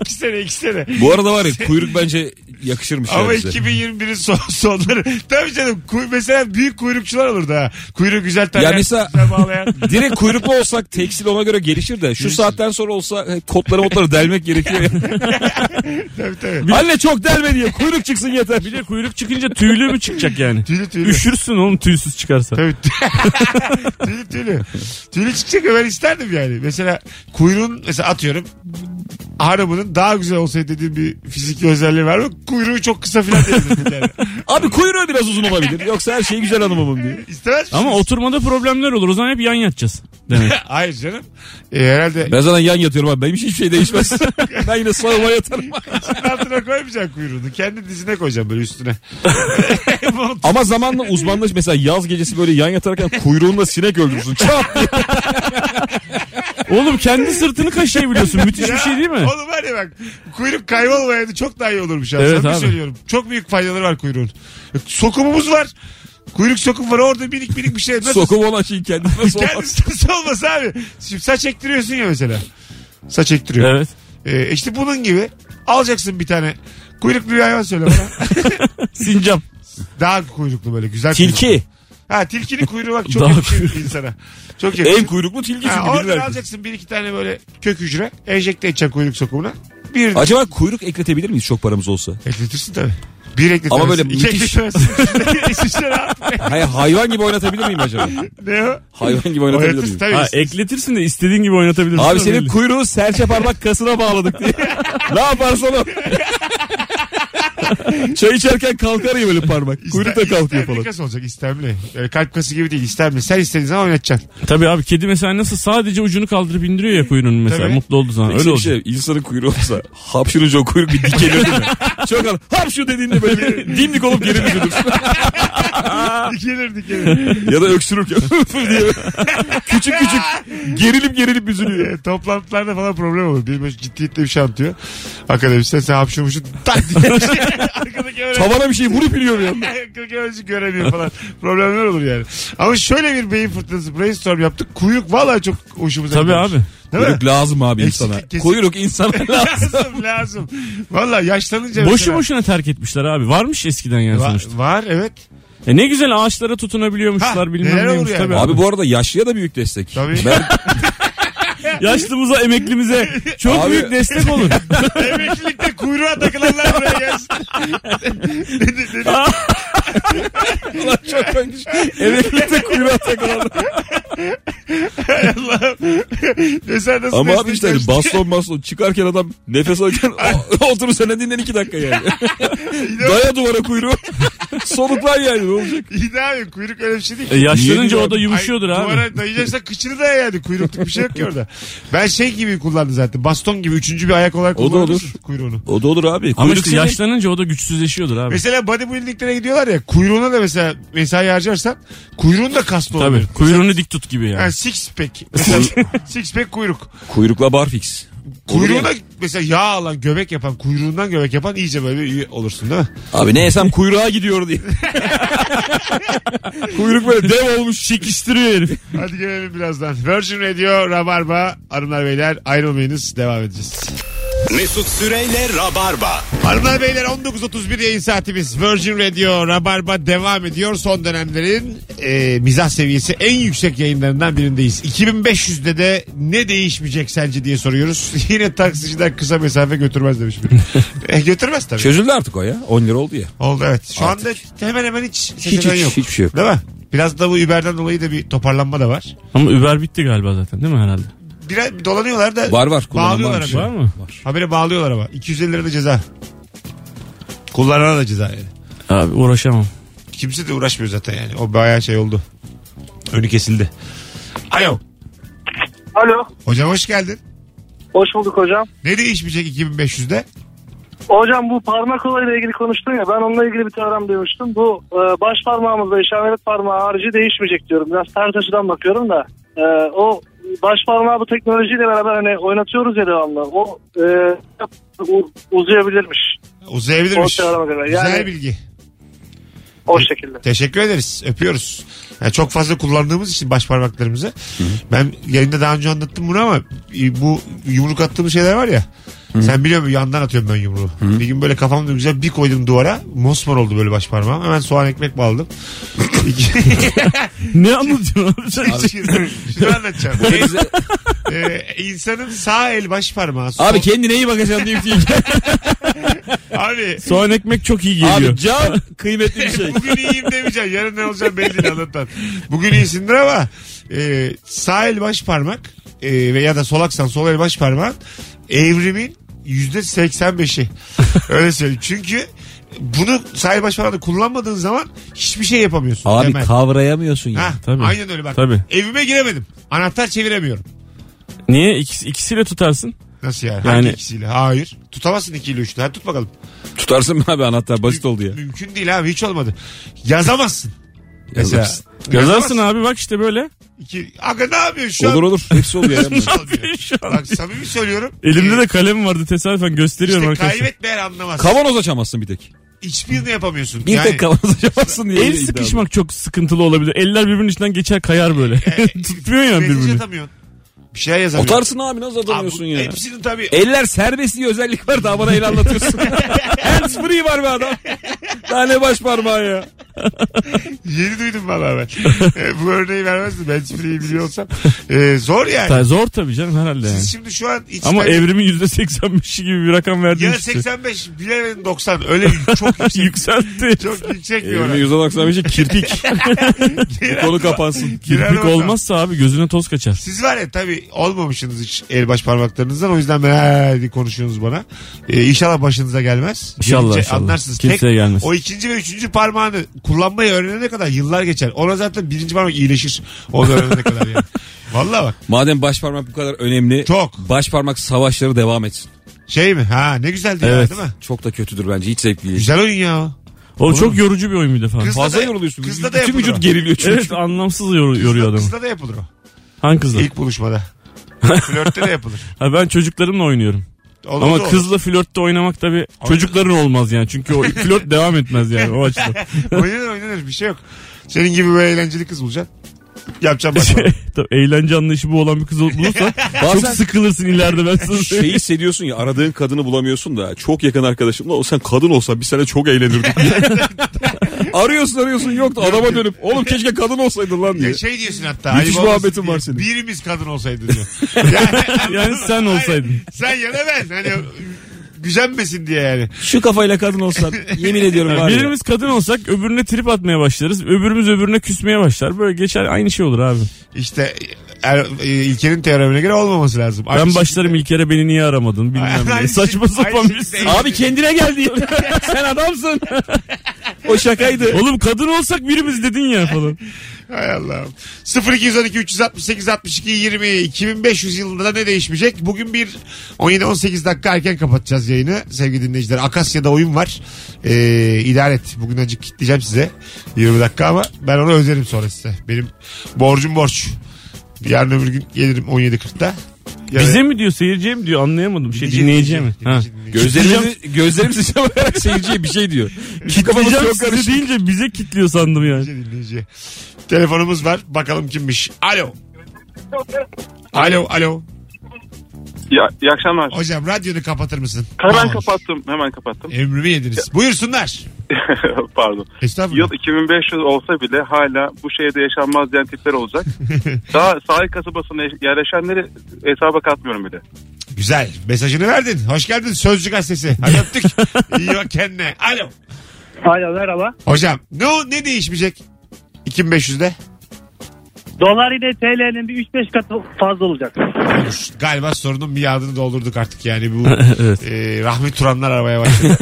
[SPEAKER 2] 2 sene 2 sene.
[SPEAKER 4] Bu arada var ya kuyruk bence yakışırmış.
[SPEAKER 2] Ama
[SPEAKER 4] ya bize.
[SPEAKER 2] 2021'in son, sonları. Tabii canım. kuy- mesela büyük kuyrukçular olur da. Kuyruğu güzel tane.
[SPEAKER 4] Ya mesela-
[SPEAKER 2] güzel bağlayan.
[SPEAKER 4] Direkt kuyruklu olsak tekstil ona göre gelişir de şu saatten sonra olsa e, kotları motları delmek gerekiyor. ya.
[SPEAKER 2] tabii tabii.
[SPEAKER 4] Anne çok delme diye kuyruk çıksın yeter.
[SPEAKER 3] Bir de kuyruk çıkınca tüylü mü çıkacak yani?
[SPEAKER 2] Tüylü tüylü.
[SPEAKER 3] Üşürsün oğlum tüysüz çıkarsa.
[SPEAKER 2] Tabii. tüylü tüylü. Tüylü çıkacak ya, ben isterdim yani. Mesela kuyruğun mesela atıyorum hanımının daha güzel olsaydı dediğim bir fiziki özelliği var mı? Kuyruğu çok kısa falan dedim yani.
[SPEAKER 4] Abi kuyruğu biraz uzun olabilir. Yoksa her şey güzel hanımımın diye.
[SPEAKER 2] İstemez
[SPEAKER 3] Ama
[SPEAKER 2] misiniz?
[SPEAKER 3] oturmada problemler olur. O zaman hep yan yatacağız. Demek.
[SPEAKER 2] Hayır canım. Ee, herhalde
[SPEAKER 4] Ben zaten yan yatıyorum abi. Benim hiçbir şey değişmez. ben yine sağıma yatarım.
[SPEAKER 2] altına koymayacaksın kuyruğunu. Kendi dizine koyacaksın böyle üstüne. Mont-
[SPEAKER 4] Ama zamanla uzmanlaş mesela yaz gecesi böyle yan yatarken kuyruğunla sinek öldürürsün. Çat diye.
[SPEAKER 3] Oğlum kendi sırtını kaşıyabiliyorsun. Müthiş bir şey değil mi?
[SPEAKER 2] Oğlum var ya bak kuyruk kaybolmayaydı çok daha iyi olurmuş. Evet, Sana
[SPEAKER 3] Evet
[SPEAKER 2] bir şey
[SPEAKER 3] abi.
[SPEAKER 2] söylüyorum. Çok büyük faydaları var kuyruğun. Sokumumuz var. Kuyruk sokum var orada minik minik bir şey. Nasıl
[SPEAKER 4] Sokum olan şey kendime sokmaz.
[SPEAKER 2] Kendisi nasıl olmaz abi? Şimdi saç ektiriyorsun ya mesela. Saç ektiriyor.
[SPEAKER 3] Evet.
[SPEAKER 2] Ee, işte bunun gibi alacaksın bir tane kuyruklu bir hayvan söyle bana.
[SPEAKER 3] Sincap.
[SPEAKER 2] Daha kuyruklu böyle güzel
[SPEAKER 4] Tilki.
[SPEAKER 2] kuyruklu. Ha tilkinin kuyruğu bak çok
[SPEAKER 3] Daha
[SPEAKER 2] yakışıyor insana. Çok yakışıyor.
[SPEAKER 4] En kuyruklu tilki
[SPEAKER 2] Ha,
[SPEAKER 4] çünkü
[SPEAKER 2] oradan
[SPEAKER 4] bilirler.
[SPEAKER 2] alacaksın bir iki tane böyle kök hücre. Enjekte edeceksin kuyruk sokumuna. Bir
[SPEAKER 4] Acaba kuyruk ekletebilir miyiz çok paramız olsa?
[SPEAKER 2] ekletirsin tabii. Bir ekletemezsin.
[SPEAKER 4] Ama böyle
[SPEAKER 2] iki
[SPEAKER 4] müthiş-
[SPEAKER 2] ekletemezsin. Düşünsene şey abi.
[SPEAKER 4] Hayır hayvan gibi oynatabilir miyim acaba?
[SPEAKER 2] Ne o?
[SPEAKER 4] Hayvan gibi oynatabilir
[SPEAKER 2] Oynatırsın
[SPEAKER 4] miyim?
[SPEAKER 2] tabii.
[SPEAKER 3] Ha, ekletirsin de istediğin gibi oynatabilirsin.
[SPEAKER 4] Abi
[SPEAKER 3] O
[SPEAKER 4] senin
[SPEAKER 3] belli.
[SPEAKER 4] kuyruğu serçe parmak kasına bağladık diye. ne yaparsan o. Çay içerken kalkar ya böyle parmak. Kuyruk da kalkıyor falan.
[SPEAKER 2] İstemli kas olacak istemli. Böyle kalp kası gibi değil istemli. Sen istediğin zaman oynatacaksın.
[SPEAKER 3] Tabii abi kedi mesela nasıl sadece ucunu kaldırıp indiriyor ya kuyruğunu mesela.
[SPEAKER 2] Tabii.
[SPEAKER 3] Mutlu olduğu zaman.
[SPEAKER 4] Öyle
[SPEAKER 3] Öyle
[SPEAKER 4] bir
[SPEAKER 3] olacak.
[SPEAKER 4] şey insanın kuyruğu olsa hapşırınca o kuyruk bir dikeliyor değil mi? Çok al hap şu dediğinde böyle bir dimdik olup geri düşürür.
[SPEAKER 2] dikilir dikilir.
[SPEAKER 4] ya da öksürürken diye. küçük küçük gerilip gerilip üzülüyor.
[SPEAKER 2] E, toplantılarda falan problem olur. Bir böyle ciddiyetle bir şey anlatıyor. Akademisyen sen hapşırmışsın tak diye bir şey. Arkadaki öğrenci.
[SPEAKER 4] Tavana bir şey vurup iniyorum yanına.
[SPEAKER 2] Kırk öğrenci göremiyor falan. Problemler olur yani. Ama şöyle bir beyin fırtınası brainstorm yaptık. Kuyruk valla çok hoşumuza
[SPEAKER 3] Tabii
[SPEAKER 2] gidiyor.
[SPEAKER 3] abi.
[SPEAKER 2] Değil mi?
[SPEAKER 4] Kuyruk lazım abi
[SPEAKER 2] Eksiklik
[SPEAKER 4] insana.
[SPEAKER 2] kesin.
[SPEAKER 4] Kuyruk insana lazım.
[SPEAKER 2] lazım lazım. Valla yaşlanınca
[SPEAKER 3] Boşu
[SPEAKER 2] mesela-
[SPEAKER 3] boşuna terk etmişler abi. Varmış eskiden yani
[SPEAKER 2] Va-
[SPEAKER 3] sonuçta.
[SPEAKER 2] var evet.
[SPEAKER 3] E ne güzel ağaçlara tutunabiliyormuşlar
[SPEAKER 2] Ha,
[SPEAKER 3] bilmem
[SPEAKER 2] neler olur
[SPEAKER 3] neymiş
[SPEAKER 2] yani.
[SPEAKER 3] tabii. Abi,
[SPEAKER 4] Abi bu arada yaşlıya da büyük destek.
[SPEAKER 2] Tabii.
[SPEAKER 4] Ben-
[SPEAKER 3] yaşlımıza, emeklimize çok
[SPEAKER 4] Abi-
[SPEAKER 3] büyük destek olur.
[SPEAKER 2] Emeklilikte kuyruğa takılanlar buraya gelsin.
[SPEAKER 4] Ulan çok şey. komik. Emeklilikte kuyruğa takılan.
[SPEAKER 2] Allah'ım. Mesela nasıl
[SPEAKER 4] Ama abi
[SPEAKER 2] destek göster-
[SPEAKER 4] işte hani baston baston çıkarken adam nefes alırken oturur senden dinlen iki dakika yani. Daya duvara kuyruğu. Soluklan yani ne olacak?
[SPEAKER 2] İyi de abi kuyruk öyle bir şey değil.
[SPEAKER 3] E, yaşlanınca
[SPEAKER 4] Niye
[SPEAKER 3] o da yumuşuyordur
[SPEAKER 2] Ay,
[SPEAKER 3] abi.
[SPEAKER 2] Duvara dayayacaksa kıçını da yani. Kuyrukluk bir şey yok ki orada. Ben şey gibi kullandım zaten. Baston gibi üçüncü bir ayak olarak
[SPEAKER 4] O da olur.
[SPEAKER 2] kullanıyorsun kuyruğunu.
[SPEAKER 4] O da olur abi.
[SPEAKER 3] Ama
[SPEAKER 4] Kuyruk
[SPEAKER 3] işte
[SPEAKER 4] senin-
[SPEAKER 3] yaşlanınca o da güçsüzleşiyordur abi.
[SPEAKER 2] Mesela bodybuildinglere gidiyorlar ya kuyruğuna da mesela mesai harcarsan kuyruğun da kaslı olur.
[SPEAKER 3] Tabii. Kuyruğunu dik tut gibi yani.
[SPEAKER 2] Yani six pack. Mesela six pack kuyruk.
[SPEAKER 4] Kuyrukla barfix.
[SPEAKER 2] Kuyruğuna mesela yağ alan göbek yapan kuyruğundan göbek yapan iyice böyle iyi olursun değil mi?
[SPEAKER 4] Abi ne yesem kuyruğa gidiyor diye. Kuyruk böyle dev olmuş çekiştiriyor herif.
[SPEAKER 2] Hadi gelelim birazdan. Virgin Radio Rabarba Hanımlar Beyler ayrılmayınız devam edeceğiz.
[SPEAKER 1] Mesut Süreyle Rabarba.
[SPEAKER 2] Hanımlar beyler 19.31 yayın saatimiz Virgin Radio Rabarba devam ediyor. Son dönemlerin e, mizah seviyesi en yüksek yayınlarından birindeyiz. 2500'de de ne değişmeyecek sence diye soruyoruz. Yine taksiciler kısa mesafe götürmez demiş biri. e, götürmez tabii.
[SPEAKER 4] Çözüldü artık o ya. 10 lira oldu ya.
[SPEAKER 2] Oldu evet. Şu anda hemen hemen hiç seçeneği
[SPEAKER 4] hiç-
[SPEAKER 2] yok.
[SPEAKER 4] hiçbir şey yok.
[SPEAKER 2] Değil mi? Biraz da bu Uber'den dolayı da bir toparlanma da var.
[SPEAKER 3] Ama Uber bitti galiba zaten değil mi herhalde?
[SPEAKER 2] Biraz dolanıyorlar da
[SPEAKER 4] Var şey. var. kullanan
[SPEAKER 2] Bağlıyorlar
[SPEAKER 4] varmış.
[SPEAKER 2] abi.
[SPEAKER 3] Var mı?
[SPEAKER 2] habire bağlıyorlar ama. 250 lira da ceza. Kullanana da ceza yani.
[SPEAKER 3] Abi uğraşamam.
[SPEAKER 2] kimse de uğraşmıyor zaten yani. O bayağı şey oldu. Önü kesildi. Alo.
[SPEAKER 6] Alo.
[SPEAKER 2] Hocam hoş geldin.
[SPEAKER 6] Hoş bulduk hocam.
[SPEAKER 2] Ne değişmeyecek 2500'de?
[SPEAKER 6] Hocam bu parmak olayıyla ilgili konuştun ya ben onunla ilgili bir teorem demiştim. Bu e, baş parmağımızda işaret parmağı harici değişmeyecek diyorum. Biraz ters açıdan bakıyorum da. E, o baş parmağı bu teknolojiyle beraber hani oynatıyoruz ya devamlı. O e, u- uzayabilirmiş.
[SPEAKER 2] Uzayabilirmiş.
[SPEAKER 6] O teoreme göre. Yani-
[SPEAKER 2] Güzel bilgi.
[SPEAKER 6] O şekilde.
[SPEAKER 2] Teşekkür ederiz. Öpüyoruz. Yani çok fazla kullandığımız için baş parmaklarımızı. Ben yayında daha önce anlattım bunu ama e, bu yumruk attığımız şeyler var ya. Sen biliyor musun yandan atıyorum ben yumruğu. Bir gün böyle kafamda güzel bir koydum duvara. Mosmor oldu böyle baş parmağım. Hemen soğan ekmek bağladım.
[SPEAKER 3] Ne anlatıyorsun abi sen?
[SPEAKER 2] Şunu anlatacağım.
[SPEAKER 4] Bize-
[SPEAKER 2] Ee, insanın sağ el baş parmağı. sol-
[SPEAKER 4] Abi kendine iyi bakacaksın diye. şey
[SPEAKER 2] Abi,
[SPEAKER 3] Soğan ekmek çok iyi geliyor.
[SPEAKER 4] Abi can kıymetli bir şey.
[SPEAKER 2] bugün iyiyim demeyeceksin. Yarın ne olacağım belli değil anlatan. Bugün iyisindir ama e, sağ el baş parmak e, veya da solaksan sol el baş parmağın evrimin yüzde seksen beşi. Öyle söyleyeyim. Çünkü bunu sağ el baş parmağını kullanmadığın zaman hiçbir şey yapamıyorsun.
[SPEAKER 4] Abi
[SPEAKER 2] Temel.
[SPEAKER 4] kavrayamıyorsun ya.
[SPEAKER 2] Ha,
[SPEAKER 3] Tabii.
[SPEAKER 2] Aynen öyle bak.
[SPEAKER 3] Tabii.
[SPEAKER 2] Evime giremedim. Anahtar çeviremiyorum.
[SPEAKER 3] Niye? İkisi, ikisiyle tutarsın.
[SPEAKER 2] Nasıl yani?
[SPEAKER 3] Yani-
[SPEAKER 2] Hangi ikisiyle? Hayır. Tutamazsın ikiyle üçlü. Hadi tut bakalım.
[SPEAKER 4] Tutarsın mı abi anahtar basit oldu ya.
[SPEAKER 2] Mümkün değil abi hiç olmadı. Yazamazsın. Mesela.
[SPEAKER 4] Yazarsın.
[SPEAKER 3] Yazarsın abi bak işte böyle.
[SPEAKER 2] İki, aga ne yapıyorsun şu an?
[SPEAKER 4] Olur olur. Hepsi oluyor. ya.
[SPEAKER 2] Olmuyor.
[SPEAKER 3] Şu an
[SPEAKER 2] şey. Bak samimi söylüyorum.
[SPEAKER 3] Elimde
[SPEAKER 2] Ee,
[SPEAKER 3] de kalem vardı tesadüfen gösteriyorum
[SPEAKER 2] işte
[SPEAKER 3] arkadaşlar.
[SPEAKER 2] kaybetmeyen anlamaz.
[SPEAKER 4] Kavanoz açamazsın bir tek.
[SPEAKER 2] Hiçbirini yapamıyorsun.
[SPEAKER 4] Bir
[SPEAKER 2] Yani-
[SPEAKER 4] tek kavanoz açamazsın diye.
[SPEAKER 3] El
[SPEAKER 4] iddia.
[SPEAKER 3] sıkışmak çok sıkıntılı olabilir. Eller birbirinin içinden geçer kayar böyle. Tutmuyor yani
[SPEAKER 2] Mesaj
[SPEAKER 3] birbirini.
[SPEAKER 2] atamıyorsun. Bir şey yazamıyorsun.
[SPEAKER 4] Otarsın abi nasıl atamıyorsun
[SPEAKER 2] Abi,
[SPEAKER 4] ya.
[SPEAKER 2] Hepsini tabii.
[SPEAKER 3] E-
[SPEAKER 4] Eller serbest diye özellik var daha bana el anlatıyorsun. Hands free var be adam. Daha ne baş parmağı ya.
[SPEAKER 2] Yeni duydum valla ben. Ee, Bu örneği vermezdim. Ben hiçbirini biliyor olsam. Ee, zor yani.
[SPEAKER 3] Ta- Zor tabii canım herhalde yani.
[SPEAKER 2] Siz şimdi şu an hiç
[SPEAKER 3] Ama evrimin %85'i gibi bir rakam verdiğin
[SPEAKER 2] ya
[SPEAKER 3] işte.
[SPEAKER 2] 85 bilemedin 90 öyle çok yüksek.
[SPEAKER 3] Yükseltti.
[SPEAKER 2] çok yüksek bir oran.
[SPEAKER 4] Elimi yüzden aksan bir şey kirpik. Bu konu kapansın.
[SPEAKER 2] Girer
[SPEAKER 3] Kirpik
[SPEAKER 2] bakalım.
[SPEAKER 3] olmazsa abi gözüne toz kaçar.
[SPEAKER 2] Siz var ya tabii olmamışsınız hiç el baş parmaklarınızdan. O yüzden ben hadi konuşuyorsunuz bana. Ee, inşallah başınıza gelmez.
[SPEAKER 3] İnşallah,
[SPEAKER 2] Gelince
[SPEAKER 3] inşallah.
[SPEAKER 2] Anlarsınız.
[SPEAKER 3] Kimseye gelmez.
[SPEAKER 2] O ikinci ve üçüncü parmağını kullanmayı öğrenene kadar yıllar geçer. Ona zaten birinci parmak iyileşir. Onu öğrenene kadar yani. Valla bak.
[SPEAKER 4] Madem baş parmak bu kadar önemli.
[SPEAKER 2] Çok.
[SPEAKER 4] Baş parmak savaşları devam etsin.
[SPEAKER 2] Şey mi? Ha ne güzeldi ya,
[SPEAKER 3] Evet.
[SPEAKER 2] değil mi?
[SPEAKER 4] Çok da kötüdür bence. Hiç zevkli değil.
[SPEAKER 2] Güzel oyun ya. o.
[SPEAKER 3] O çok yorucu bir oyun bir defa.
[SPEAKER 2] Kız- Kızla
[SPEAKER 4] Fazla
[SPEAKER 2] da-
[SPEAKER 4] yoruluyorsun.
[SPEAKER 2] kızla da
[SPEAKER 4] Bütün
[SPEAKER 2] yapılır o.
[SPEAKER 4] vücut geriliyor çünkü.
[SPEAKER 3] Evet anlamsız yor- yoruyor adamı.
[SPEAKER 2] Kızla da yapılır o.
[SPEAKER 3] Hangi kızla?
[SPEAKER 2] İlk buluşmada. Flörtte de yapılır.
[SPEAKER 3] Ha, ben çocuklarımla oynuyorum.
[SPEAKER 2] Olur
[SPEAKER 3] Ama
[SPEAKER 2] da olur.
[SPEAKER 3] kızla flörtte oynamak tabii çocukların olmaz yani. Çünkü o flört devam etmez yani o açıdan.
[SPEAKER 2] oynanır oynanır bir şey yok. Senin gibi böyle eğlenceli kız bulacaksın. Yapacağım bak.
[SPEAKER 3] Tabii eğlence anlayışı bu olan bir kız bulursa çok
[SPEAKER 4] Bazen- şey
[SPEAKER 3] sıkılırsın ileride ben sana
[SPEAKER 4] Şeyi
[SPEAKER 3] söyleyeyim.
[SPEAKER 4] hissediyorsun ya aradığın kadını bulamıyorsun da çok yakın arkadaşımla o sen kadın olsa biz sene çok eğlenirdik. arıyorsun arıyorsun yok da adama dönüp oğlum keşke kadın olsaydın lan diye.
[SPEAKER 2] Ya şey diyorsun hatta.
[SPEAKER 4] Müthiş
[SPEAKER 2] ayıp olmasın
[SPEAKER 4] muhabbetin
[SPEAKER 2] diye,
[SPEAKER 4] var senin.
[SPEAKER 2] Birimiz kadın olsaydı diyor. yani,
[SPEAKER 3] Yani sen olsaydın.
[SPEAKER 2] sen ya da ben. Hani gücenmesin diye yani.
[SPEAKER 4] Şu kafayla kadın olsan yemin ediyorum var ya.
[SPEAKER 3] Birimiz kadın olsak öbürüne trip atmaya başlarız. Öbürümüz öbürüne küsmeye başlar. Böyle geçer aynı şey olur abi.
[SPEAKER 2] İşte er, e, İlker'in teoremine göre olmaması lazım.
[SPEAKER 3] Ben başlarım ilk kere beni niye aramadın bilmem
[SPEAKER 2] Aynı
[SPEAKER 3] ne.
[SPEAKER 2] şey-
[SPEAKER 3] Saçma
[SPEAKER 2] aynı
[SPEAKER 3] sapan
[SPEAKER 2] şey-
[SPEAKER 3] bir
[SPEAKER 4] Abi kendine gel diye.
[SPEAKER 3] Sen adamsın.
[SPEAKER 4] O şakaydı.
[SPEAKER 3] Oğlum kadın olsak birimiz dedin ya falan.
[SPEAKER 2] Hay Allah'ım. 0212 368 62 20 2500 yılında da ne değişmeyecek? Bugün bir 17-18 dakika erken kapatacağız yayını sevgili dinleyiciler. Akasya'da oyun var. Ee, idare et. Bugün acık kitleyeceğim size. 20 dakika ama ben onu özerim sonra size. Benim borcum borç. Yarın öbür gün gelirim 17.40'da. Yarın-
[SPEAKER 3] Bize mi diyor seyirciye mi diyor anlayamadım. Şey dinleyiciye mi? Ha.
[SPEAKER 2] Dinleyici, dinleyici.
[SPEAKER 4] Gözlerimizi, gözlerimizi çalarak seyirciye bir şey diyor. Kafamız
[SPEAKER 3] Kitleyeceğim
[SPEAKER 4] çok
[SPEAKER 3] sizi
[SPEAKER 4] karışık.
[SPEAKER 3] deyince bize kitliyor sandım yani.
[SPEAKER 2] Dinleyici, dinleyici. Telefonumuz var. Bakalım kimmiş. Alo. Alo, alo.
[SPEAKER 7] Ya, iyi akşamlar.
[SPEAKER 2] Hocam radyonu kapatır mısın?
[SPEAKER 7] Hemen
[SPEAKER 2] Aa,
[SPEAKER 7] kapattım. Hemen kapattım.
[SPEAKER 2] Emrimi yediniz. Buyursunlar.
[SPEAKER 7] Pardon.
[SPEAKER 2] Estağfurullah.
[SPEAKER 7] Yıl 2500 olsa bile hala bu şehirde yaşanmaz diyen tipler olacak. Daha sahil kasabasına yerleşenleri hesaba katmıyorum bile.
[SPEAKER 2] Güzel. Mesajını verdin. Hoş geldin Sözcü Gazetesi. Hadi öptük. İyi bak kendine. Alo.
[SPEAKER 6] Alo merhaba.
[SPEAKER 2] Hocam ne o- ne değişmeyecek? 2500'de.
[SPEAKER 6] Dolar ile TL'nin bir 3-5 katı fazla olacak.
[SPEAKER 2] Olur. Galiba sorunun bir adını doldurduk artık yani bu
[SPEAKER 3] Evet.
[SPEAKER 2] e, Rahmi Turanlar aramaya başladı.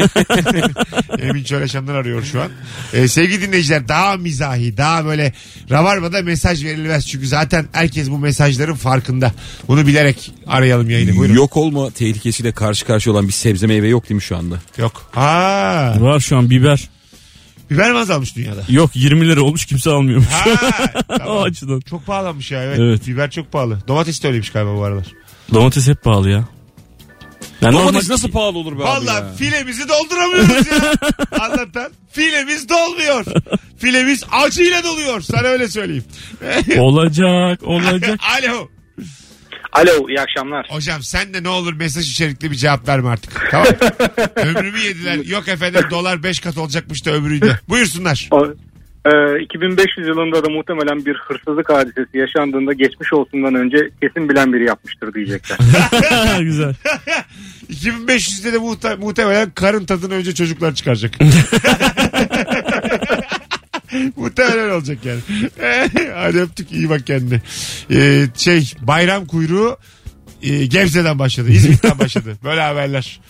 [SPEAKER 2] Emin Çöleşanlar arıyor şu an. E, sevgili dinleyiciler daha mizahi daha böyle Rabarba'da mesaj verilmez çünkü zaten herkes bu mesajların farkında. Bunu bilerek arayalım yayını buyurun. Yok.
[SPEAKER 4] Yok olma tehlikesiyle karşı karşıya olan bir sebze meyve yok değil mi şu anda?
[SPEAKER 2] Yok. Ha,
[SPEAKER 3] Var şu an biber.
[SPEAKER 2] biber mi azalmış dünyada?
[SPEAKER 3] Yok 20 lira olmuş kimse almıyormuş.
[SPEAKER 2] Ha,
[SPEAKER 3] o
[SPEAKER 2] tamam.
[SPEAKER 3] açıdan.
[SPEAKER 2] Çok pahalanmış ya evet.
[SPEAKER 3] Evet.
[SPEAKER 2] Biber çok pahalı. Domates de öyleymiş galiba bu aralar.
[SPEAKER 3] Domates hep pahalı ya. Yani
[SPEAKER 4] Domates
[SPEAKER 3] normal-
[SPEAKER 4] nasıl pahalı olur be abi ya?
[SPEAKER 2] Valla filemizi dolduramıyoruz ya. Anlatan. Filemiz dolmuyor. Filemiz acıyla doluyor. Sana öyle söyleyeyim.
[SPEAKER 3] Olacak olacak.
[SPEAKER 2] Alo.
[SPEAKER 8] Alo iyi akşamlar.
[SPEAKER 2] Hocam sen de ne olur mesaj içerikli bir cevap verme artık. Tamam. Ömrümü yediler. Yok efendim dolar 5 kat olacakmış da ömrüydü. Buyursunlar.
[SPEAKER 8] Ee, 2500 yılında da muhtemelen bir hırsızlık hadisesi yaşandığında geçmiş olsundan önce kesin bilen biri yapmıştır diyecekler.
[SPEAKER 3] Güzel.
[SPEAKER 2] 2500'de de muhte- muhtemelen karın tadını önce çocuklar çıkaracak. muhtemelen olacak yani. Hadi öptük iyi bak kendine. Ee, şey bayram kuyruğu e, Gebze'den başladı. İzmit'ten başladı. Böyle haberler.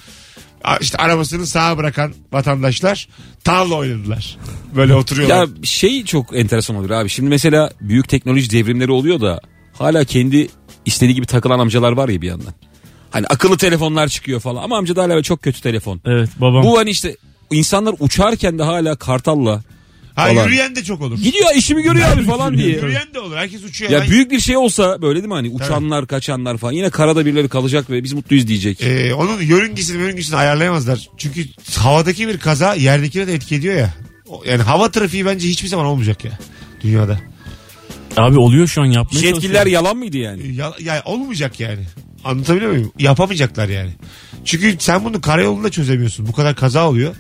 [SPEAKER 2] A- İşte arabasını sağa bırakan vatandaşlar tavla oynadılar. Böyle oturuyorlar.
[SPEAKER 4] Ya şey çok enteresan olur abi. Şimdi mesela büyük teknoloji devrimleri oluyor da hala kendi istediği gibi takılan amcalar var ya bir yandan. Hani akıllı telefonlar çıkıyor falan ama amca da hala çok kötü telefon.
[SPEAKER 3] Evet babam.
[SPEAKER 4] Bu hani işte insanlar uçarken de hala kartalla
[SPEAKER 2] ha
[SPEAKER 4] falan.
[SPEAKER 2] yürüyen de çok olur.
[SPEAKER 4] gidiyor işimi görüyor abi falan diye.
[SPEAKER 2] Yürüyen de olur. Herkes uçuyor.
[SPEAKER 4] Ya
[SPEAKER 2] lan.
[SPEAKER 4] büyük bir şey olsa böyle değil mi hani uçanlar kaçanlar falan yine karada birileri kalacak ve biz mutluyuz
[SPEAKER 3] E,
[SPEAKER 4] diyecek.
[SPEAKER 2] Ee, onun yörüngesini yörüngesini ayarlayamazlar. Çünkü havadaki bir kaza yerdekine de etki ediyor ya. O- Yani hava trafiği bence hiçbir zaman olmayacak ya dünyada.
[SPEAKER 3] Abi oluyor şu an yapmaya
[SPEAKER 4] Yetkililer
[SPEAKER 3] çalışıyorum.
[SPEAKER 4] yalan mıydı yani?
[SPEAKER 2] Ya, ya olmayacak yani. Anlatabiliyor muyum? Yapamayacaklar yani. Çünkü sen bunu karayolunda çözemiyorsun. Bu kadar kaza oluyor.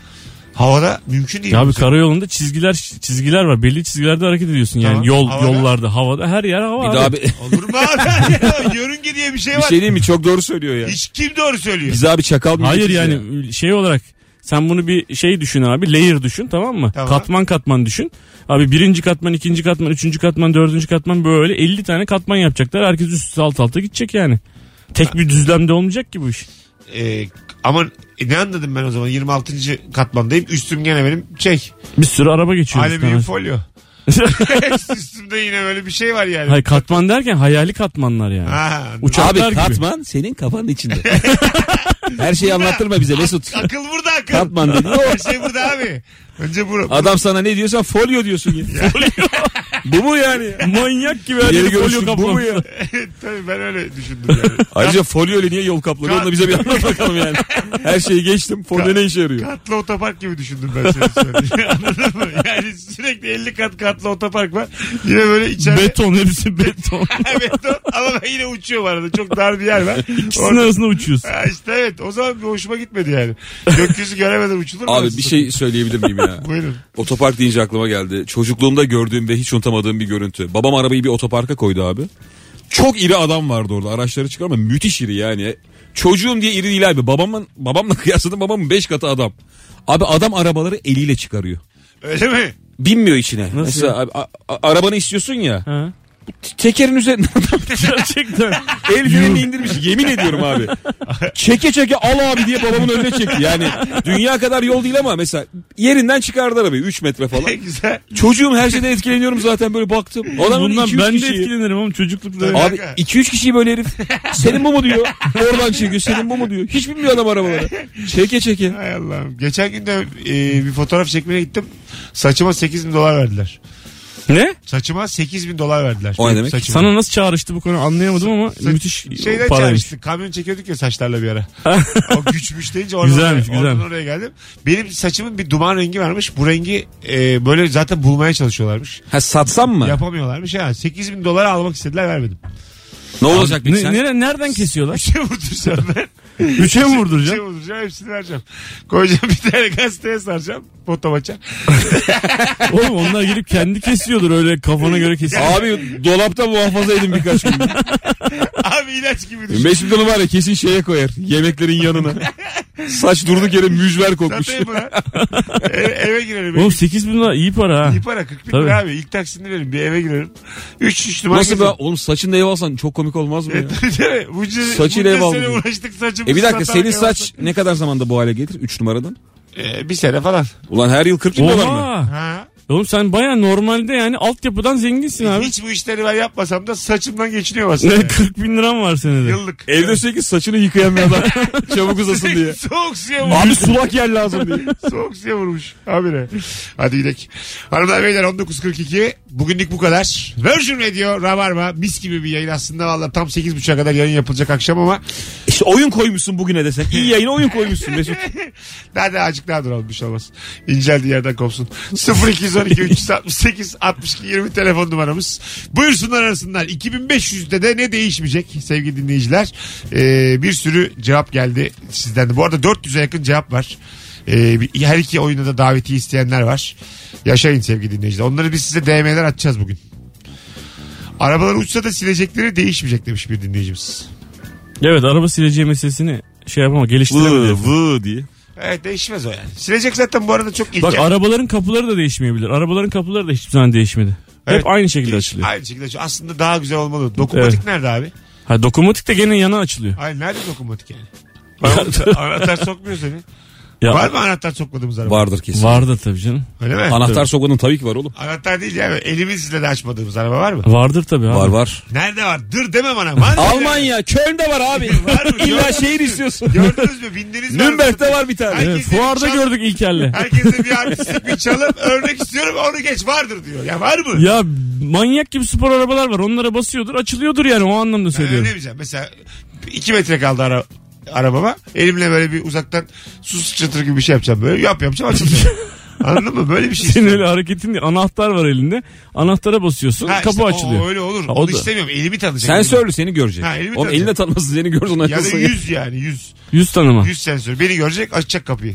[SPEAKER 2] Havada mümkün değil.
[SPEAKER 3] Ya abi
[SPEAKER 2] Bu-
[SPEAKER 3] karayolunda çizgiler çizgiler var. Belli çizgilerde hareket ediyorsun yani.
[SPEAKER 2] Tamam.
[SPEAKER 3] Yol
[SPEAKER 2] Havada.
[SPEAKER 3] yollarda, havada her yer hava. abi.
[SPEAKER 4] Bir daha bir,
[SPEAKER 2] Olur mu abi? Ya, Yörünge diye bir şey
[SPEAKER 4] bir
[SPEAKER 2] var.
[SPEAKER 4] şey değil mi çok doğru söylüyor ya.
[SPEAKER 2] Hiç kim doğru söylüyor.
[SPEAKER 4] Biz abi çakal mıydık
[SPEAKER 3] Hayır
[SPEAKER 4] biz
[SPEAKER 3] yani
[SPEAKER 4] ya?
[SPEAKER 3] şey olarak sen bunu bir şey düşün abi layer düşün tamam mı?
[SPEAKER 2] Tamam.
[SPEAKER 3] Katman katman düşün. Abi birinci katman, ikinci katman, üçüncü katman, dördüncü katman böyle 50 tane katman yapacaklar. Herkes üst üste alt alta gidecek yani. Tek bir düzlemde olmayacak ki bu iş.
[SPEAKER 2] Ee, ama ne anladım ben o zaman? 26. katmandayım. Üstüm gene benim şey.
[SPEAKER 3] Bir sürü araba geçiyor.
[SPEAKER 2] Alüminyum
[SPEAKER 3] üstten.
[SPEAKER 2] folyo. Üstümde yine böyle bir şey var yani.
[SPEAKER 3] Hayır katman derken hayali katmanlar yani.
[SPEAKER 2] Ha,
[SPEAKER 3] Uçaklar
[SPEAKER 4] Abi
[SPEAKER 3] gibi.
[SPEAKER 4] katman senin kafanın içinde. Her şeyi anlattırma bize Mesut.
[SPEAKER 2] Akıl burada akıl.
[SPEAKER 4] Katman dedi.
[SPEAKER 2] Her şey burada abi. Önce bura.
[SPEAKER 4] Adam sana ne diyorsan folyo diyorsun ya. Bu mu yani?
[SPEAKER 3] Manyak gibi her
[SPEAKER 4] Yeni
[SPEAKER 3] yeri folyo
[SPEAKER 4] görüşüm bu mu
[SPEAKER 3] kaplamış.
[SPEAKER 4] ya?
[SPEAKER 2] Tabii ben öyle düşündüm yani.
[SPEAKER 4] Ayrıca folyo ile niye yol kaplanıyor onu da bize bir anlat bakalım yani. Her şeyi geçtim. Folyo ne işe yarıyor?
[SPEAKER 2] Katlı otopark gibi düşündüm ben seni söyleyeyim. Anladın mı? Yani sürekli 50 kat katlı otopark var. Yine böyle
[SPEAKER 4] Şey-
[SPEAKER 2] içeride...
[SPEAKER 3] Beton hepsi beton.
[SPEAKER 2] beton. Ama ben yine uçuyorum arada. Çok dar bir yer var.
[SPEAKER 3] İkisinin arasında uçuyoruz.
[SPEAKER 2] Ha işte evet. O zaman bir hoşuma gitmedi yani. Gökyüzü göremeden uçulur mu?
[SPEAKER 4] Abi
[SPEAKER 2] arası?
[SPEAKER 4] bir şey söyleyebilir miyim ya?
[SPEAKER 2] Buyurun.
[SPEAKER 4] Otopark deyince aklıma geldi. Çocukluğumda gördüğüm ve hiç unutamadığım bir görüntü. Babam arabayı bir otoparka koydu abi. Çok iri adam vardı orada. Araçları çıkar ama müthiş iri yani. Çocuğum diye iri değil abi. Babamın, babamla kıyasladım babamın 5 katı adam. Abi adam arabaları eliyle çıkarıyor.
[SPEAKER 2] Öyle mi?
[SPEAKER 4] Binmiyor içine.
[SPEAKER 3] Nasıl
[SPEAKER 4] Mesela abi, a- a- arabanı istiyorsun ya.
[SPEAKER 3] Ha.
[SPEAKER 4] t- Tekerin üzerinden adam
[SPEAKER 3] Gerçekten.
[SPEAKER 4] el frenini indirmiş. Yemin ediyorum abi. Çeke çeke al abi diye babamın önüne çekti. Yani dünya kadar yol değil ama mesela yerinden çıkardı arabayı 3 metre falan.
[SPEAKER 2] Güzel.
[SPEAKER 4] Çocuğum her şeyden etkileniyorum zaten böyle baktım. Adam
[SPEAKER 3] Bundan ben de
[SPEAKER 4] kişiyi...
[SPEAKER 3] etkilenirim oğlum çocuklukta.
[SPEAKER 2] Tabii.
[SPEAKER 4] Abi 2-3 kişiyi böyle herif senin bu mu diyor. Oradan çekiyor senin bu mu diyor. Hiç bilmiyor adam arabaları. Çeke çeke.
[SPEAKER 2] Hay Allah'ım. Geçen gün de e, bir fotoğraf çekmeye gittim. Saçıma 8 bin dolar verdiler.
[SPEAKER 3] Ne?
[SPEAKER 2] Saçıma 8 bin dolar verdiler.
[SPEAKER 4] O ne demek?
[SPEAKER 2] Saçıma.
[SPEAKER 3] Sana nasıl çağrıştı bu konu anlayamadım ama
[SPEAKER 2] Sa-
[SPEAKER 3] müthiş
[SPEAKER 2] Şeyden
[SPEAKER 3] paraymış.
[SPEAKER 2] çağrıştı. Kamyon çekiyorduk ya saçlarla bir ara. o güçmüş deyince oradan,
[SPEAKER 3] Güzelmiş,
[SPEAKER 2] oraya,
[SPEAKER 3] güzel.
[SPEAKER 2] oradan oraya geldim. Benim saçımın bir duman rengi varmış. Bu rengi e, böyle zaten bulmaya çalışıyorlarmış.
[SPEAKER 4] Ha satsam mı?
[SPEAKER 2] Yapamıyorlarmış. Ha, 8 bin dolar almak istediler vermedim.
[SPEAKER 4] Ne olacak peki
[SPEAKER 3] Ne-
[SPEAKER 4] sen?
[SPEAKER 3] nere- nereden kesiyorlar?
[SPEAKER 4] Şey-
[SPEAKER 2] Üçe vurduracağım ben.
[SPEAKER 3] Üçe mi vurduracaksın?
[SPEAKER 2] Üçe vurduracağım hepsini vereceğim. Koyacağım bir tane gazeteye saracağım. Fotomaça.
[SPEAKER 3] Oğlum onlar gelip kendi kesiyordur öyle kafana göre kesiyor.
[SPEAKER 4] Şey- Abi dolapta muhafaza edin birkaç gün.
[SPEAKER 2] Abi ilaç gibi düşün.
[SPEAKER 4] Mesut Hanım var ya kesin şeye koyar. Yemeklerin yanına. Saç durduk yere mücver kokmuş.
[SPEAKER 2] Satayım buna. eve, eve girelim.
[SPEAKER 3] Oğlum 8 bin lira iyi para ha.
[SPEAKER 2] İyi para 40 bin
[SPEAKER 3] Tabii.
[SPEAKER 2] lira abi. İlk taksini verin. Bir eve girelim. 3 3 numara.
[SPEAKER 4] Nasıl be? Oğlum saçın ev alsan çok komik olmaz mı ya? Saçıyla
[SPEAKER 2] Saçıyla
[SPEAKER 4] ev
[SPEAKER 2] ev
[SPEAKER 4] aldım.
[SPEAKER 2] sene uğraştık saçımız.
[SPEAKER 4] E bir dakika
[SPEAKER 2] satan
[SPEAKER 4] senin
[SPEAKER 2] kalmasın.
[SPEAKER 4] saç ne kadar zamanda bu hale gelir? 3 numaradan.
[SPEAKER 2] E, bir sene falan.
[SPEAKER 4] Ulan her yıl 40 bin dolar mı?
[SPEAKER 3] Oha.
[SPEAKER 2] Ha.
[SPEAKER 3] Oğlum sen baya normalde yani altyapıdan zenginsin abi.
[SPEAKER 2] Hiç bu işleri ben yapmasam da saçımdan geçiniyor
[SPEAKER 4] şey
[SPEAKER 2] aslında.
[SPEAKER 3] Ne
[SPEAKER 2] yani.
[SPEAKER 3] 40 bin liram var senede.
[SPEAKER 2] Yıllık.
[SPEAKER 4] Evde sürekli saçını yıkayan bir adam. Çabuk uzasın diye.
[SPEAKER 2] Soğuk suya vurmuş.
[SPEAKER 4] Abi sulak yer lazım diye.
[SPEAKER 2] Soğuk suya vurmuş. Habire. Hadi gidelim. Hanımlar beyler 19.42. Bugünlük bu kadar. Virgin Radio Rabarba. Mis gibi bir yayın aslında. Valla tam 8.30'a kadar yayın yapılacak akşam ama
[SPEAKER 4] İşte oyun koymuşsun bugüne desen. İyi yayına oyun koymuşsun Mesut.
[SPEAKER 2] Daha da azıcık daha duralım bir şey olmaz. İnceldiği yerden kopsun. 0212 368 62 20 telefon numaramız. Buyursunlar arasınlar. 2500'de de ne değişmeyecek sevgili dinleyiciler. Ee, bir sürü cevap geldi sizden de. Bu arada 400'e yakın cevap var. Ee, bir- her iki oyunda da daveti isteyenler var. Yaşayın sevgili dinleyiciler. Onları biz size DM'ler atacağız bugün. Arabalar uçsa da silecekleri değişmeyecek demiş bir dinleyicimiz.
[SPEAKER 3] Evet araba sileceği meselesini şey yapama
[SPEAKER 4] Vı
[SPEAKER 3] geliştiremedi.
[SPEAKER 4] vı diye.
[SPEAKER 2] Evet değişmez o yani. Silecek zaten bu arada çok ince.
[SPEAKER 3] Bak arabaların kapıları da değişmeyebilir. Arabaların kapıları da hiçbir zaman değişmedi.
[SPEAKER 2] Evet.
[SPEAKER 3] Hep aynı şekilde
[SPEAKER 2] Hiç-
[SPEAKER 3] açılıyor.
[SPEAKER 2] Aynı şekilde açılıyor. Aslında daha güzel olmalı. Dokunmatik
[SPEAKER 3] Evet.
[SPEAKER 2] nerede abi?
[SPEAKER 3] Ha dokunmatik de gene yana açılıyor.
[SPEAKER 2] Hayır nerede dokunmatik yani? Bana- anahtar sokmuyor seni.
[SPEAKER 3] Ya,
[SPEAKER 2] Var mı anahtar sokmadığımız araba?
[SPEAKER 4] Vardır kesin.
[SPEAKER 3] Vardı tabii canım.
[SPEAKER 2] Öyle mi?
[SPEAKER 4] Anahtar sokmanın tabii ki var oğlum.
[SPEAKER 2] anahtar değil yani. Elimizle de açmadığımız araba var mı?
[SPEAKER 3] Vardır tabii abi.
[SPEAKER 4] Var var.
[SPEAKER 2] Nerede var? Dır deme bana. Var mı?
[SPEAKER 4] Almanya, Köln'de var abi.
[SPEAKER 2] Var mı?
[SPEAKER 4] İlla
[SPEAKER 2] Gördünüz
[SPEAKER 4] şehir
[SPEAKER 2] mü?
[SPEAKER 4] istiyorsun.
[SPEAKER 2] Gördünüz mü? Bindiniz mi?
[SPEAKER 4] Nürnberg'de
[SPEAKER 2] arabasına?
[SPEAKER 4] var bir tane.
[SPEAKER 3] Evet,
[SPEAKER 2] Herkese
[SPEAKER 3] fuarda
[SPEAKER 2] bir çal-
[SPEAKER 3] gördük İlker'le.
[SPEAKER 2] Herkese bir artistik bir çalıp örnek istiyorum onu geç vardır diyor. Ya var mı?
[SPEAKER 3] Ya manyak gibi spor arabalar var. Onlara basıyordur, açılıyordur yani o anlamda
[SPEAKER 2] Ben öyle
[SPEAKER 3] söylüyorum.
[SPEAKER 2] diyeceğim. Ee, Mesela 2 metre kaldı ara, arabama. Elimle böyle bir uzaktan su sıçratır gibi bir şey yapacağım. Böyle yap yapacağım açılacak. Anladın mı? Böyle bir şey
[SPEAKER 3] Senin
[SPEAKER 2] istiyorum.
[SPEAKER 3] öyle hareketin değil. Anahtar var elinde. Anahtara basıyorsun.
[SPEAKER 2] Ha
[SPEAKER 3] kapı
[SPEAKER 2] işte o-
[SPEAKER 3] açılıyor.
[SPEAKER 2] O, öyle olur.
[SPEAKER 3] Ha, o
[SPEAKER 2] Onu
[SPEAKER 3] da.
[SPEAKER 2] istemiyorum. Elimi tanıyacak.
[SPEAKER 4] Sensörlü seni görecek.
[SPEAKER 2] Ha, elimi
[SPEAKER 4] Oğlum
[SPEAKER 2] tanıyacak.
[SPEAKER 4] eline tanımasın seni görsün.
[SPEAKER 2] Ya da
[SPEAKER 4] nasıl-
[SPEAKER 2] yüz yani yüz.
[SPEAKER 3] Yüz tanıma.
[SPEAKER 2] Yüz sensör. Beni görecek açacak kapıyı.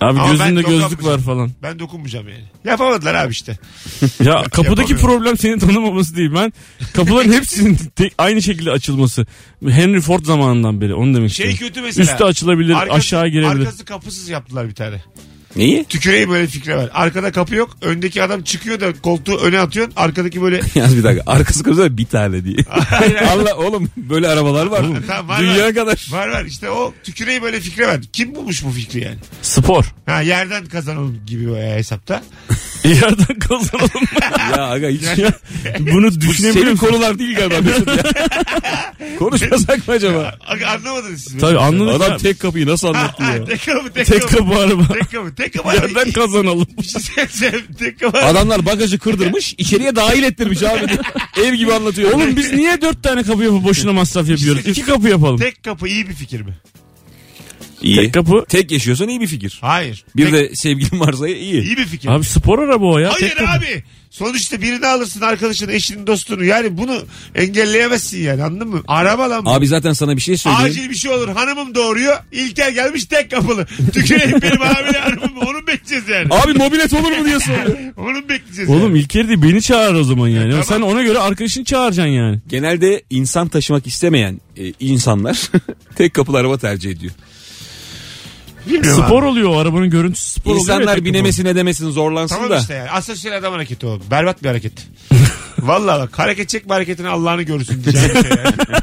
[SPEAKER 3] Abi
[SPEAKER 2] Ama
[SPEAKER 3] gözünde
[SPEAKER 2] ben yok
[SPEAKER 3] gözlük var
[SPEAKER 2] yapmayacağım.
[SPEAKER 3] falan.
[SPEAKER 2] Ben dokunmayacağım yani. Yapamadılar abi işte.
[SPEAKER 3] Ya
[SPEAKER 4] şey
[SPEAKER 3] kapıdaki
[SPEAKER 2] yapamıyorum.
[SPEAKER 3] problem seni tanımaması değil. Ben kapıların hepsinin tek, aynı şekilde açılması. Henry Ford zamanından beri onu demek
[SPEAKER 2] Şey
[SPEAKER 3] istiyorum.
[SPEAKER 2] kötü mesela.
[SPEAKER 3] Üstü açılabilir,
[SPEAKER 2] Arkası-
[SPEAKER 3] aşağı girebilir.
[SPEAKER 2] Arkası kapısız yaptılar bir tane.
[SPEAKER 4] Neyi?
[SPEAKER 2] Tüküreyim böyle fikre ver. Arkada kapı yok. Öndeki adam çıkıyor da koltuğu öne atıyorsun. Arkadaki böyle
[SPEAKER 4] Yalnız bir dakika. Arkası kırmızı bir tane diye. Allah oğlum böyle arabalar var.
[SPEAKER 2] Tamam, var,
[SPEAKER 4] Dünya
[SPEAKER 2] var.
[SPEAKER 4] kadar.
[SPEAKER 2] var var işte o tüküreyi böyle fikre ver. Kim bulmuş bu fikri yani?
[SPEAKER 3] Spor.
[SPEAKER 2] Ha yerden kazanalım gibi o hesapta.
[SPEAKER 3] Yerden kazanalım.
[SPEAKER 4] Ya aga hiç
[SPEAKER 3] Ya, Bunu
[SPEAKER 4] bu
[SPEAKER 3] düşünebiliyor
[SPEAKER 4] senin
[SPEAKER 3] musun?
[SPEAKER 4] konular değil galiba Mesut ya. Konuşmasak mı acaba?
[SPEAKER 2] Aga Anlamadınız siz.
[SPEAKER 3] Tabii anladık.
[SPEAKER 4] Adam
[SPEAKER 3] ya.
[SPEAKER 4] tek kapıyı nasıl anlattı ya?
[SPEAKER 2] Tek kapı tek
[SPEAKER 3] tek
[SPEAKER 2] kapı.
[SPEAKER 3] kapı araba.
[SPEAKER 2] Tek kapı tek kapı. şey
[SPEAKER 3] Yerden kazanalım.
[SPEAKER 2] Tek kapı.
[SPEAKER 4] Adamlar bagajı kırdırmış içeriye dahil ettirmiş abi. Ev gibi anlatıyor.
[SPEAKER 3] Oğlum biz niye dört tane kapı yapıp boşuna masraf yapıyoruz? İki kapı yapalım. Tek,
[SPEAKER 2] Tek kapı iyi bir fikir mi?
[SPEAKER 4] iyi. Tek,
[SPEAKER 3] kapı.
[SPEAKER 4] yaşıyorsan iyi bir fikir.
[SPEAKER 2] Hayır.
[SPEAKER 4] Bir
[SPEAKER 2] Tek-
[SPEAKER 4] de sevgilin varsa iyi.
[SPEAKER 2] iyi bir fikir.
[SPEAKER 3] Abi spor araba o ya.
[SPEAKER 2] Hayır
[SPEAKER 3] tek kapı.
[SPEAKER 2] abi. Sonuçta birini alırsın arkadaşını, eşini, dostunu. Yani bunu engelleyemezsin yani anladın mı? Araba lan bu.
[SPEAKER 4] Abi zaten sana bir şey söyleyeyim.
[SPEAKER 2] Acil bir şey olur. Hanımım doğuruyor. İlker gelmiş tek kapılı. Tüküreyim benim hamile hanımım. Onu bekleyeceğiz yani.
[SPEAKER 4] Abi mobilet olur mu diye soruyor.
[SPEAKER 2] Onu bekleyeceğiz
[SPEAKER 3] Oğlum
[SPEAKER 2] yani.
[SPEAKER 3] İlker de beni çağır o zaman yani.
[SPEAKER 2] Tamam.
[SPEAKER 3] Sen ona göre arkadaşını çağıracaksın yani.
[SPEAKER 4] Genelde insan taşımak istemeyen e, insanlar tek kapılı araba tercih ediyor.
[SPEAKER 2] Bilmiyorum
[SPEAKER 3] spor
[SPEAKER 2] abi.
[SPEAKER 3] oluyor o arabanın görüntüsü spor oluyor. ya tek
[SPEAKER 4] İnsanlar
[SPEAKER 3] kapı.
[SPEAKER 4] binemesin edemesin zorlansın
[SPEAKER 2] Tamam
[SPEAKER 4] da.
[SPEAKER 2] işte yani. Asosyal adam hareketi o. Berbat bir hareket. Valla bak hareket çekme hareketini Allah'ını görürsün diyeceğim bir şey yani.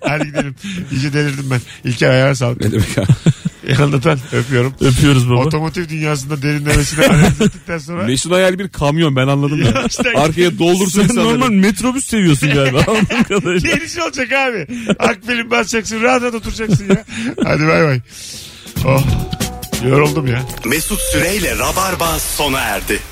[SPEAKER 2] Hadi gidelim. İyice delirdim ben. İlker ayağına sağlık.
[SPEAKER 4] Ne demek abi?
[SPEAKER 2] Anlatan öpüyorum.
[SPEAKER 3] Öpüyoruz baba.
[SPEAKER 2] Otomotiv dünyasında derinlemesine analiz ettikten sonra
[SPEAKER 4] Mesut Hayal bir kamyon ben anladım ya.
[SPEAKER 2] İşte-
[SPEAKER 4] Arkaya doldursun
[SPEAKER 3] Sen
[SPEAKER 4] insanları.
[SPEAKER 3] normal metrobüs seviyorsun galiba. Anladığım kadarıyla.
[SPEAKER 2] Geniş şey olacak abi. Akbilin basacaksın rahat rahat oturacaksın ya. Hadi bay bay. Oh. Yoruldum ya.
[SPEAKER 1] Mesut Süreyle Rabarba sona erdi.